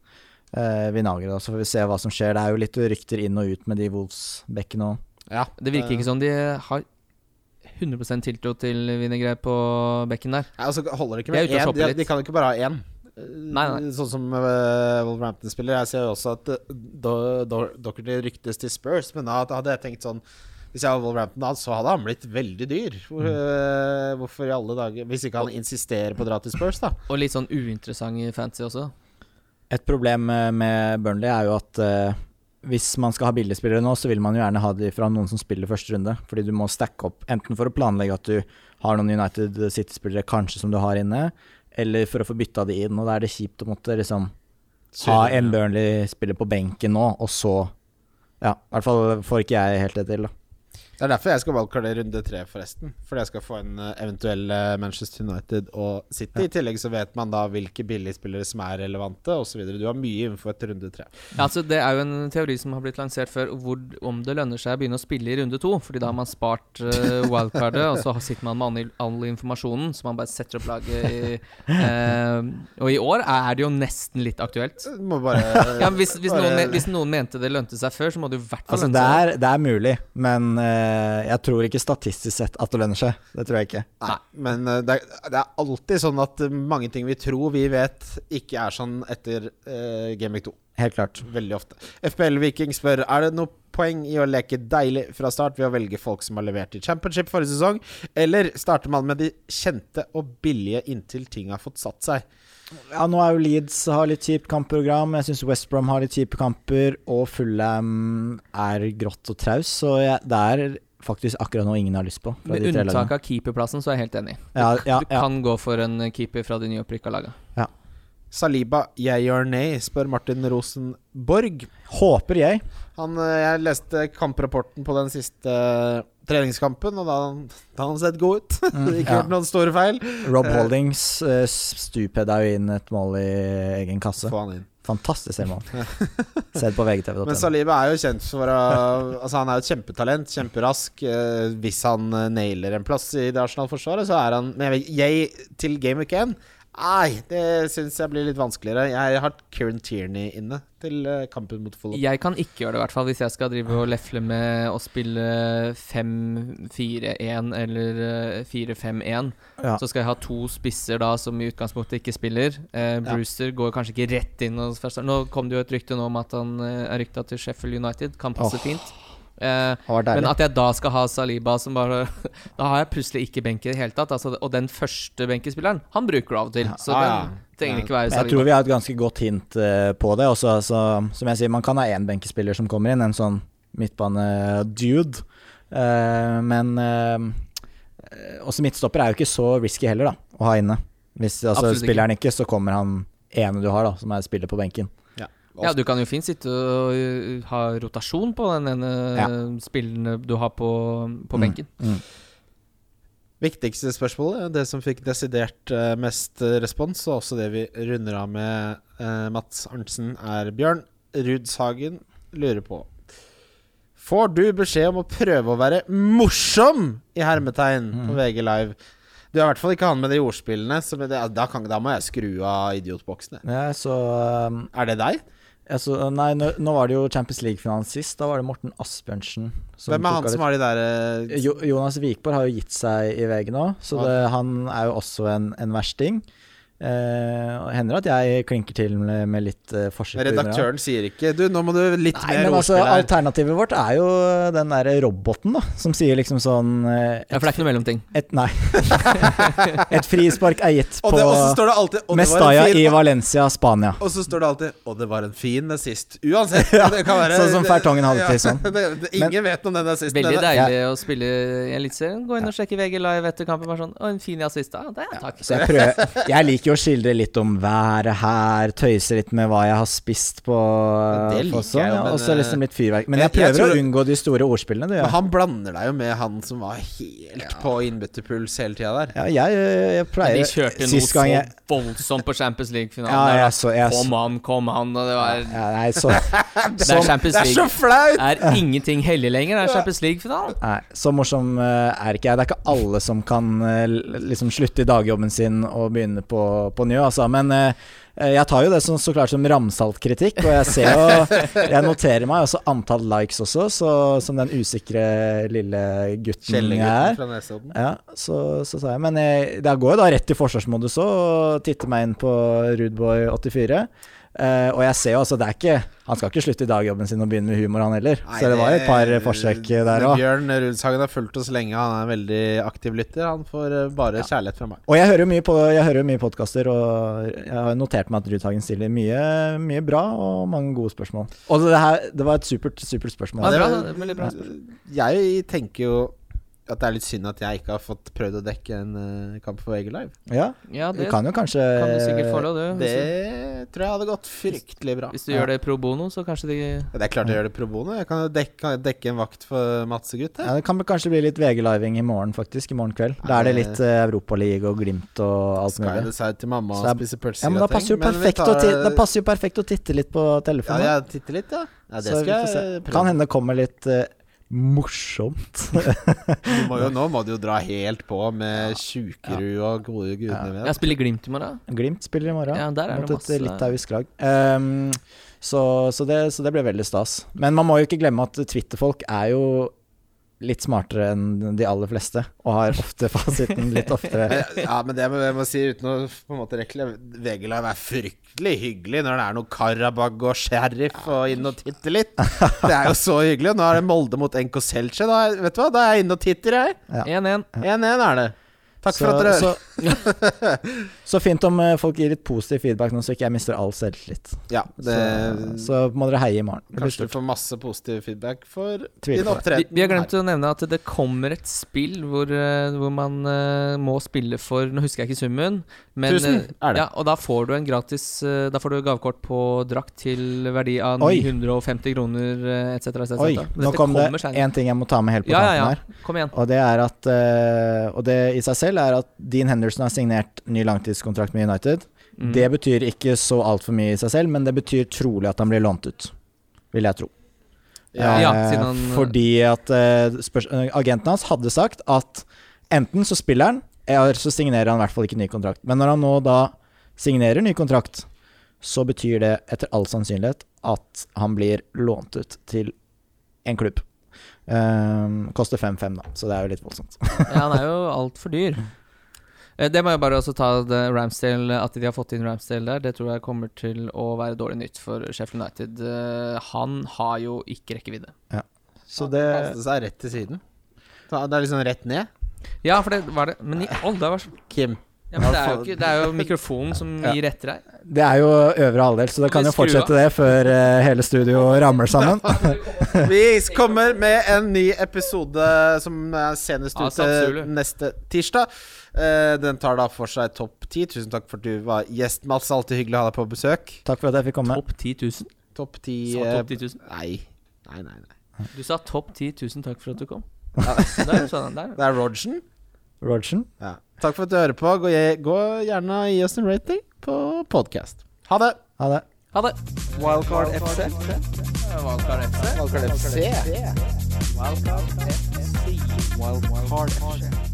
eh, Vinagre, da. Så får vi se hva som skjer. Det er jo litt rykter inn og ut med de Wolves-bekkene òg.
Ja,
Det virker ikke som de har 100 tiltro til Vinegre på bekken der.
Nei, altså, holder det ikke
Jeg
med
er ute og
én?
shopper
De,
litt.
de kan jo ikke bare ha én.
Nei, nei.
Sånn som eh, Wolverhampton spiller. Jeg ser jo også at eh, Do- Do- Doherty ryktes til Spurs, men da hadde jeg tenkt sånn Hvis jeg var Wolverhampton da, så hadde han blitt veldig dyr.
Mm.
Hvor, eh, hvorfor i alle dager Hvis ikke han insisterer på å dra til Spurs, da.
Og litt sånn uinteressant i fancy også.
Et problem eh, med Burnley er jo at eh, hvis man skal ha billigspillere nå, så vil man jo gjerne ha de fra noen som spiller første runde. Fordi du må stacke opp, enten for å planlegge at du har noen United City-spillere kanskje som du har inne, eller for å få bytta de inn. Og da er det kjipt å måtte liksom ha en Burnley-spiller på benken nå, og så Ja, i hvert fall får ikke jeg helt det til, da.
Det er derfor jeg skal valgkarde runde tre, forresten. Fordi jeg skal få en eh, eventuell eh, Manchester United og City. I tillegg så vet man da hvilke billigspillere som er relevante, osv. Du har mye info etter runde tre.
Ja, altså Det er jo en teori som har blitt lansert før, hvor, om det lønner seg å begynne å spille i runde to. Fordi da har man spart eh, wildcardet, og så har- sitter man med all, all informasjonen. Så man bare setter opp laget i eh, Og i år er det jo nesten litt aktuelt.
Du må bare eh,
Ja, men hvis, hvis,
bare-
noen, men- hvis noen mente det lønte seg før, så må det jo i hvert fall
Altså, det
lønne seg.
er, det er mulig, men eh, jeg tror ikke statistisk sett at det lønner seg. Det tror jeg ikke.
Nei, men eh, det er, det er alltid sånn at eh, mange ting vi tror vi vet, ikke er sånn etter uh, Game Week 2.
Helt klart.
Veldig ofte. FPL Viking spør Er det noe poeng i å leke deilig fra start ved å velge folk som har levert i championship forrige sesong, eller starter man med de kjente og billige inntil ting har fått satt seg?
Ja, nå er jo Leeds har litt kjipt kampprogram. Jeg syns West Brom har litt kjipe kamper. Og Fulham er grått og traus, så jeg, det er faktisk akkurat nå ingen har lyst på. Fra
Med
de tre
unntak
lagene.
av keeperplassen, så er jeg helt enig.
Ja, ja,
Du
ja.
kan gå for en keeper fra de nyopprykka laga.
Saliba, yay or nay, spør Martin Rosenborg.
Håper jeg.
Han, eh, jeg leste kamprapporten på den siste eh, treningskampen, og da, da hadde han sett god ut. Ikke
ja.
gjort noen store feil.
Rob
Eh.
Holdings uh, stupedda jo inn et mål i egen kasse.
Få han inn.
Fantastisk selvmål. Sett på
Men
vgtv.no.
Saliba er jo kjent for å Altså Han er jo et kjempetalent, kjemperask. eh, hvis han eh, nailer en plass i det Arsenal-forsvaret, så er han Men jeg, vet- jeg til Game Week 1 Nei, det syns jeg blir litt vanskeligere. Jeg har Kieran Tierney inne til eh, kampen mot Follo.
Jeg kan ikke gjøre det, i hvert fall, hvis jeg skal drive og lefle med å spille 5-4-1 eller eh, 4-5-1.
Ja.
Så skal jeg ha to spisser da som i utgangspunktet ikke spiller. Eh, Brewster går kanskje ikke rett inn. Og først, nå kom det jo et rykte nå om at han eh, er rykta til Sheffield United. Kan passe
Åh.
fint. Eh,
Har vært
men
deilig.
at jeg da skal ha Saliba som bare Da har jeg plutselig ikke benk i det hele tatt. Altså, og den første benkespilleren, han bruker du av og til. Så
Ah, ja.
den trenger
Ja.
ikke være
Men Jeg
Saliba.
tror vi har et ganske godt hint eh, på det. Også, altså, som jeg sier, man kan ha én benkespiller som kommer inn, en sånn midtbane-dude. Eh, men eh, også midtstopper er jo ikke så risky heller, da, å ha inne. Hvis altså,
Absolutt ikke.
spiller han ikke, så kommer han ene du har, da, som er spiller på benken.
Ja,
Altså-
du kan jo fint sitte og ø, ha rotasjon på den ene
Ja.
spillen du har på, på
Mm.
benken.
Viktigste spørsmålet, det som fikk desidert eh, mest eh, respons, og også det vi runder av med eh, Mats Arntzen, er Bjørn Rudshagen lurer på Får du beskjed om å prøve å være morsom i hermetegn
Mm.
på VG Live? Du er i hvert fall ikke han med de ordspillene, så det, da, kan, da må jeg skru av idiotboksene.
Ja, så, eh,
Er det deg?
altså, nei, nå, nå var det jo Champions League-finalen sist. Da var det Morten Asbjørnsen
Hvem er
tok av
han
litt-
som har de der eh,
Jo, Jonas Wikborg har jo gitt seg i VG nå, så det, han er jo også en, en versting. Eh, og hender at jeg klinker til med, med litt eh, forsøk. på humor, da.
Redaktøren sier ikke Du, nå må du litt
Nei,
mer
men altså,
ordspill her.
alternativet vårt er jo den derre roboten, da, som sier liksom sånn eh,
Ja, for det er ikke noe mellomting.
et, Nei. et frispark er gitt på
Og, det, og så står det alltid og det var en
Mestalla
fin-
i Valencia, Spania.
Og så står det alltid 'Og det var en fin nazist'. Uansett. det kan være,
sånn som Fertongen hadde til sånn.
det, det, ingen vet om den nazisten.
Veldig
er-
deilig å spille i Eliteserien. Gå inn og sjekke VG Live etter kampen. Bare sånn, å, en fin assist, da. Det er takk.
Så jeg prøver Jeg liker jo å skildre litt om været her, tøyse litt med hva jeg har spist på
Ja, det liker
på sånn,
jeg jo,
ja,
men,
Og så
eh,
liksom litt fyrverk. Men
jeg-
jeg
jeg
prøver
tror-
å unngå de store ordspillene, det
Men
gjør jeg.
han blander deg jo med han som var helt på innbytterpuls hele tida der.
Ja, jeg, jeg
Men
pleier
de kjørte noe
Sist gang
sånn-
jeg
så voldsomt på Champions League-finalen.
Ja,
der, da.
jeg så jeg,
Kom an, kom an. Og det var
ja, Nei, så
Det er Champions
Det er så
League.
flaut!
Det er ingenting hellig lenger. Det er Champions League-finalen.
Nei, så morsom eh, er ikke jeg. Det er ikke alle som kan eh, l- liksom slutte i dagjobben sin og begynne på, på ny, altså. Men eh, jeg tar jo det som, så klart som ramsaltkritikk, og jeg ser jo Jeg noterer meg også antall likes også, så, som den usikre lille gutten jeg
Kjellegutten
er.
fra Nesodden.
Ja, så, så sa jeg Men jeg, det går jo da rett i forsvarsmodus òg, og titter meg inn på Rudeboy84. Eh, og jeg ser jo altså, det er ikke Han skal ikke slutte i dagjobben sin og begynne med humor, han heller. så det var jo et par forsøk der òg.
Bjørn Rudshagen har fulgt oss lenge. Han er en veldig aktiv lytter. Han får eh, bare kjærlighet fra meg.
Og jeg hører jo mye, på, jeg hører jo mye podkaster, og jeg har notert meg at Rudhagen stiller mye, mye bra og mange gode spørsmål. Og det, her, det var et supert, supert
Ja,
spørsmål.
det
det
er bra,
var-
det er veldig bra.
Jeg tenker jo at det er litt synd at jeg ikke har fått prøvd å dekke en eh, kamp for VG Live.
Ja,
Ja,
du
det kan
kan øh, jo kanskje
du sikkert få lov, du. Hvis,
Det tror jeg hadde gått fryktelig bra.
du- hvis du gjør det pro bono, så kanskje de
Ja, Det er klart jeg gjør det pro bono. Jeg kan jo dekke, kan jeg dekke en vakt for Madsegutt.
Ja, det kan vel kanskje bli litt VG-living i morgen, faktisk. I morgen kveld. Da er det litt eh, Europaliga og Glimt og alt
Skal jeg
mulig.
decide til mamma
Så
og
jeg-
spise pølser
Ja, men da
og ting?
passer, jo
Men vi
perfekt å
tar-
ti- da passer jo perfekt å titte litt på
Ja,
telefonen. da.
jeg titter litt, ja. ja det
Så vi
skal
får se.
jeg
Kan
prøve.
hende det kommer litt eh, morsomt.
Du må jo, nå må du jo dra helt på med Sjukerud og gode gudene vet.
Jeg spiller Glimt i morgen.
Glimt spiller i morgen
Ja, der er det
mot
masse-
et litauisk lag. Ehm, så, så, det, så det blir veldig stas. Men man må jo ikke glemme at Twitter-folk er jo litt smartere enn de aller fleste, og har ofte fasiten litt oftere.
Men- Ja, men det må jeg må si uten å på en måte rekle VG Live er fryktelig hyggelig når det er noe Karabag og Sheriff og inn og titte litt. Det er jo så hyggelig. og Nå er det Molde mot NK Selce. Da, er- vet du hva? da er jeg inne og titter, jeg.
Ja.
1-1.
1-1 er det. Takk for
så,
at dere
så, så fint om eh, folk gir litt positiv feedback nå, så ikke jeg mister all selvtillit.
Ja,
Så,
det
så må dere heie i morgen. Det blir
Kanskje du får masse positiv feedback for din
Tviler på det.
Vi,
opptreden.
vi har glemt å nevne at det kommer et spill hvor, eh, hvor man eh, må spille for Nå husker jeg ikke summen, men
Tusen,
eh,
er det.
Ja, og da får du en gratis eh, Da får du gavekort på drakt til verdi av
Oi.
950 kroner etc. Et cetera.
Oi,
Men
nå
dette
kom det
kommer senere.
én ting jeg må ta med helt på
Ja,
tampen
ja,
her.
ja. Kom igjen.
Og det er at eh, Og det i seg selv er at Dean Henderson har signert ny langtidskontrakt med United.
Mm.
Det betyr ikke så altfor mye i seg selv, men det betyr trolig at han blir lånt ut. Vil jeg tro.
Ja.
Ja,
Eh,
siden han-
Fordi at eh, spørs- eh, agenten hans hadde sagt at enten så spiller han, eller så signerer han i hvert fall ikke ny kontrakt. Men når han nå da signerer ny kontrakt, så betyr det etter all sannsynlighet at han blir lånt ut til en klubb. Eh, koster 5-5, da, så det er jo litt voldsomt.
Ja, han er jo altfor dyr. Eh, Det må jeg bare også ta det Ramsdale, At de har fått inn Ramsdale der, det tror jeg kommer til å være dårlig nytt for Sheffield United. Eh, Han har jo ikke rekkevidde.
Så
Kaste seg rett til siden. Ta- Det er liksom rett ned.
Ja, for det var det Men i alle dager
Kim.
ja, men det, er jo ikke, det er jo mikrofonen som gir etter deg.
Det er jo øvre halvdel, så det kan jo
Skru av.
fortsette det før eh, hele studio ramler sammen.
Vi kommer med en ny episode som er senest
Ja,
ute
Satsule.
neste tirsdag. Eh, Den tar da for seg topp 10. Tusen takk for at du var gjest, Mats. Alltid hyggelig å ha deg på besøk.
Takk for at jeg fikk komme.
Topp 10 000?
Topp 10
Sa
eh,
topp 10 000?
Nei. Nei, nei, nei.
Du sa topp 10 000, takk for at du kom. Der, sa han, der.
Det er Rogen.
Rogersen.
Ja. Takk for at du hører på. Gå, gå gjerne og gi oss en rating på podkast. Ha det.
Ha det.
Ha det.
Wildcard FC.
Valgkart FC.
Wildcard FC.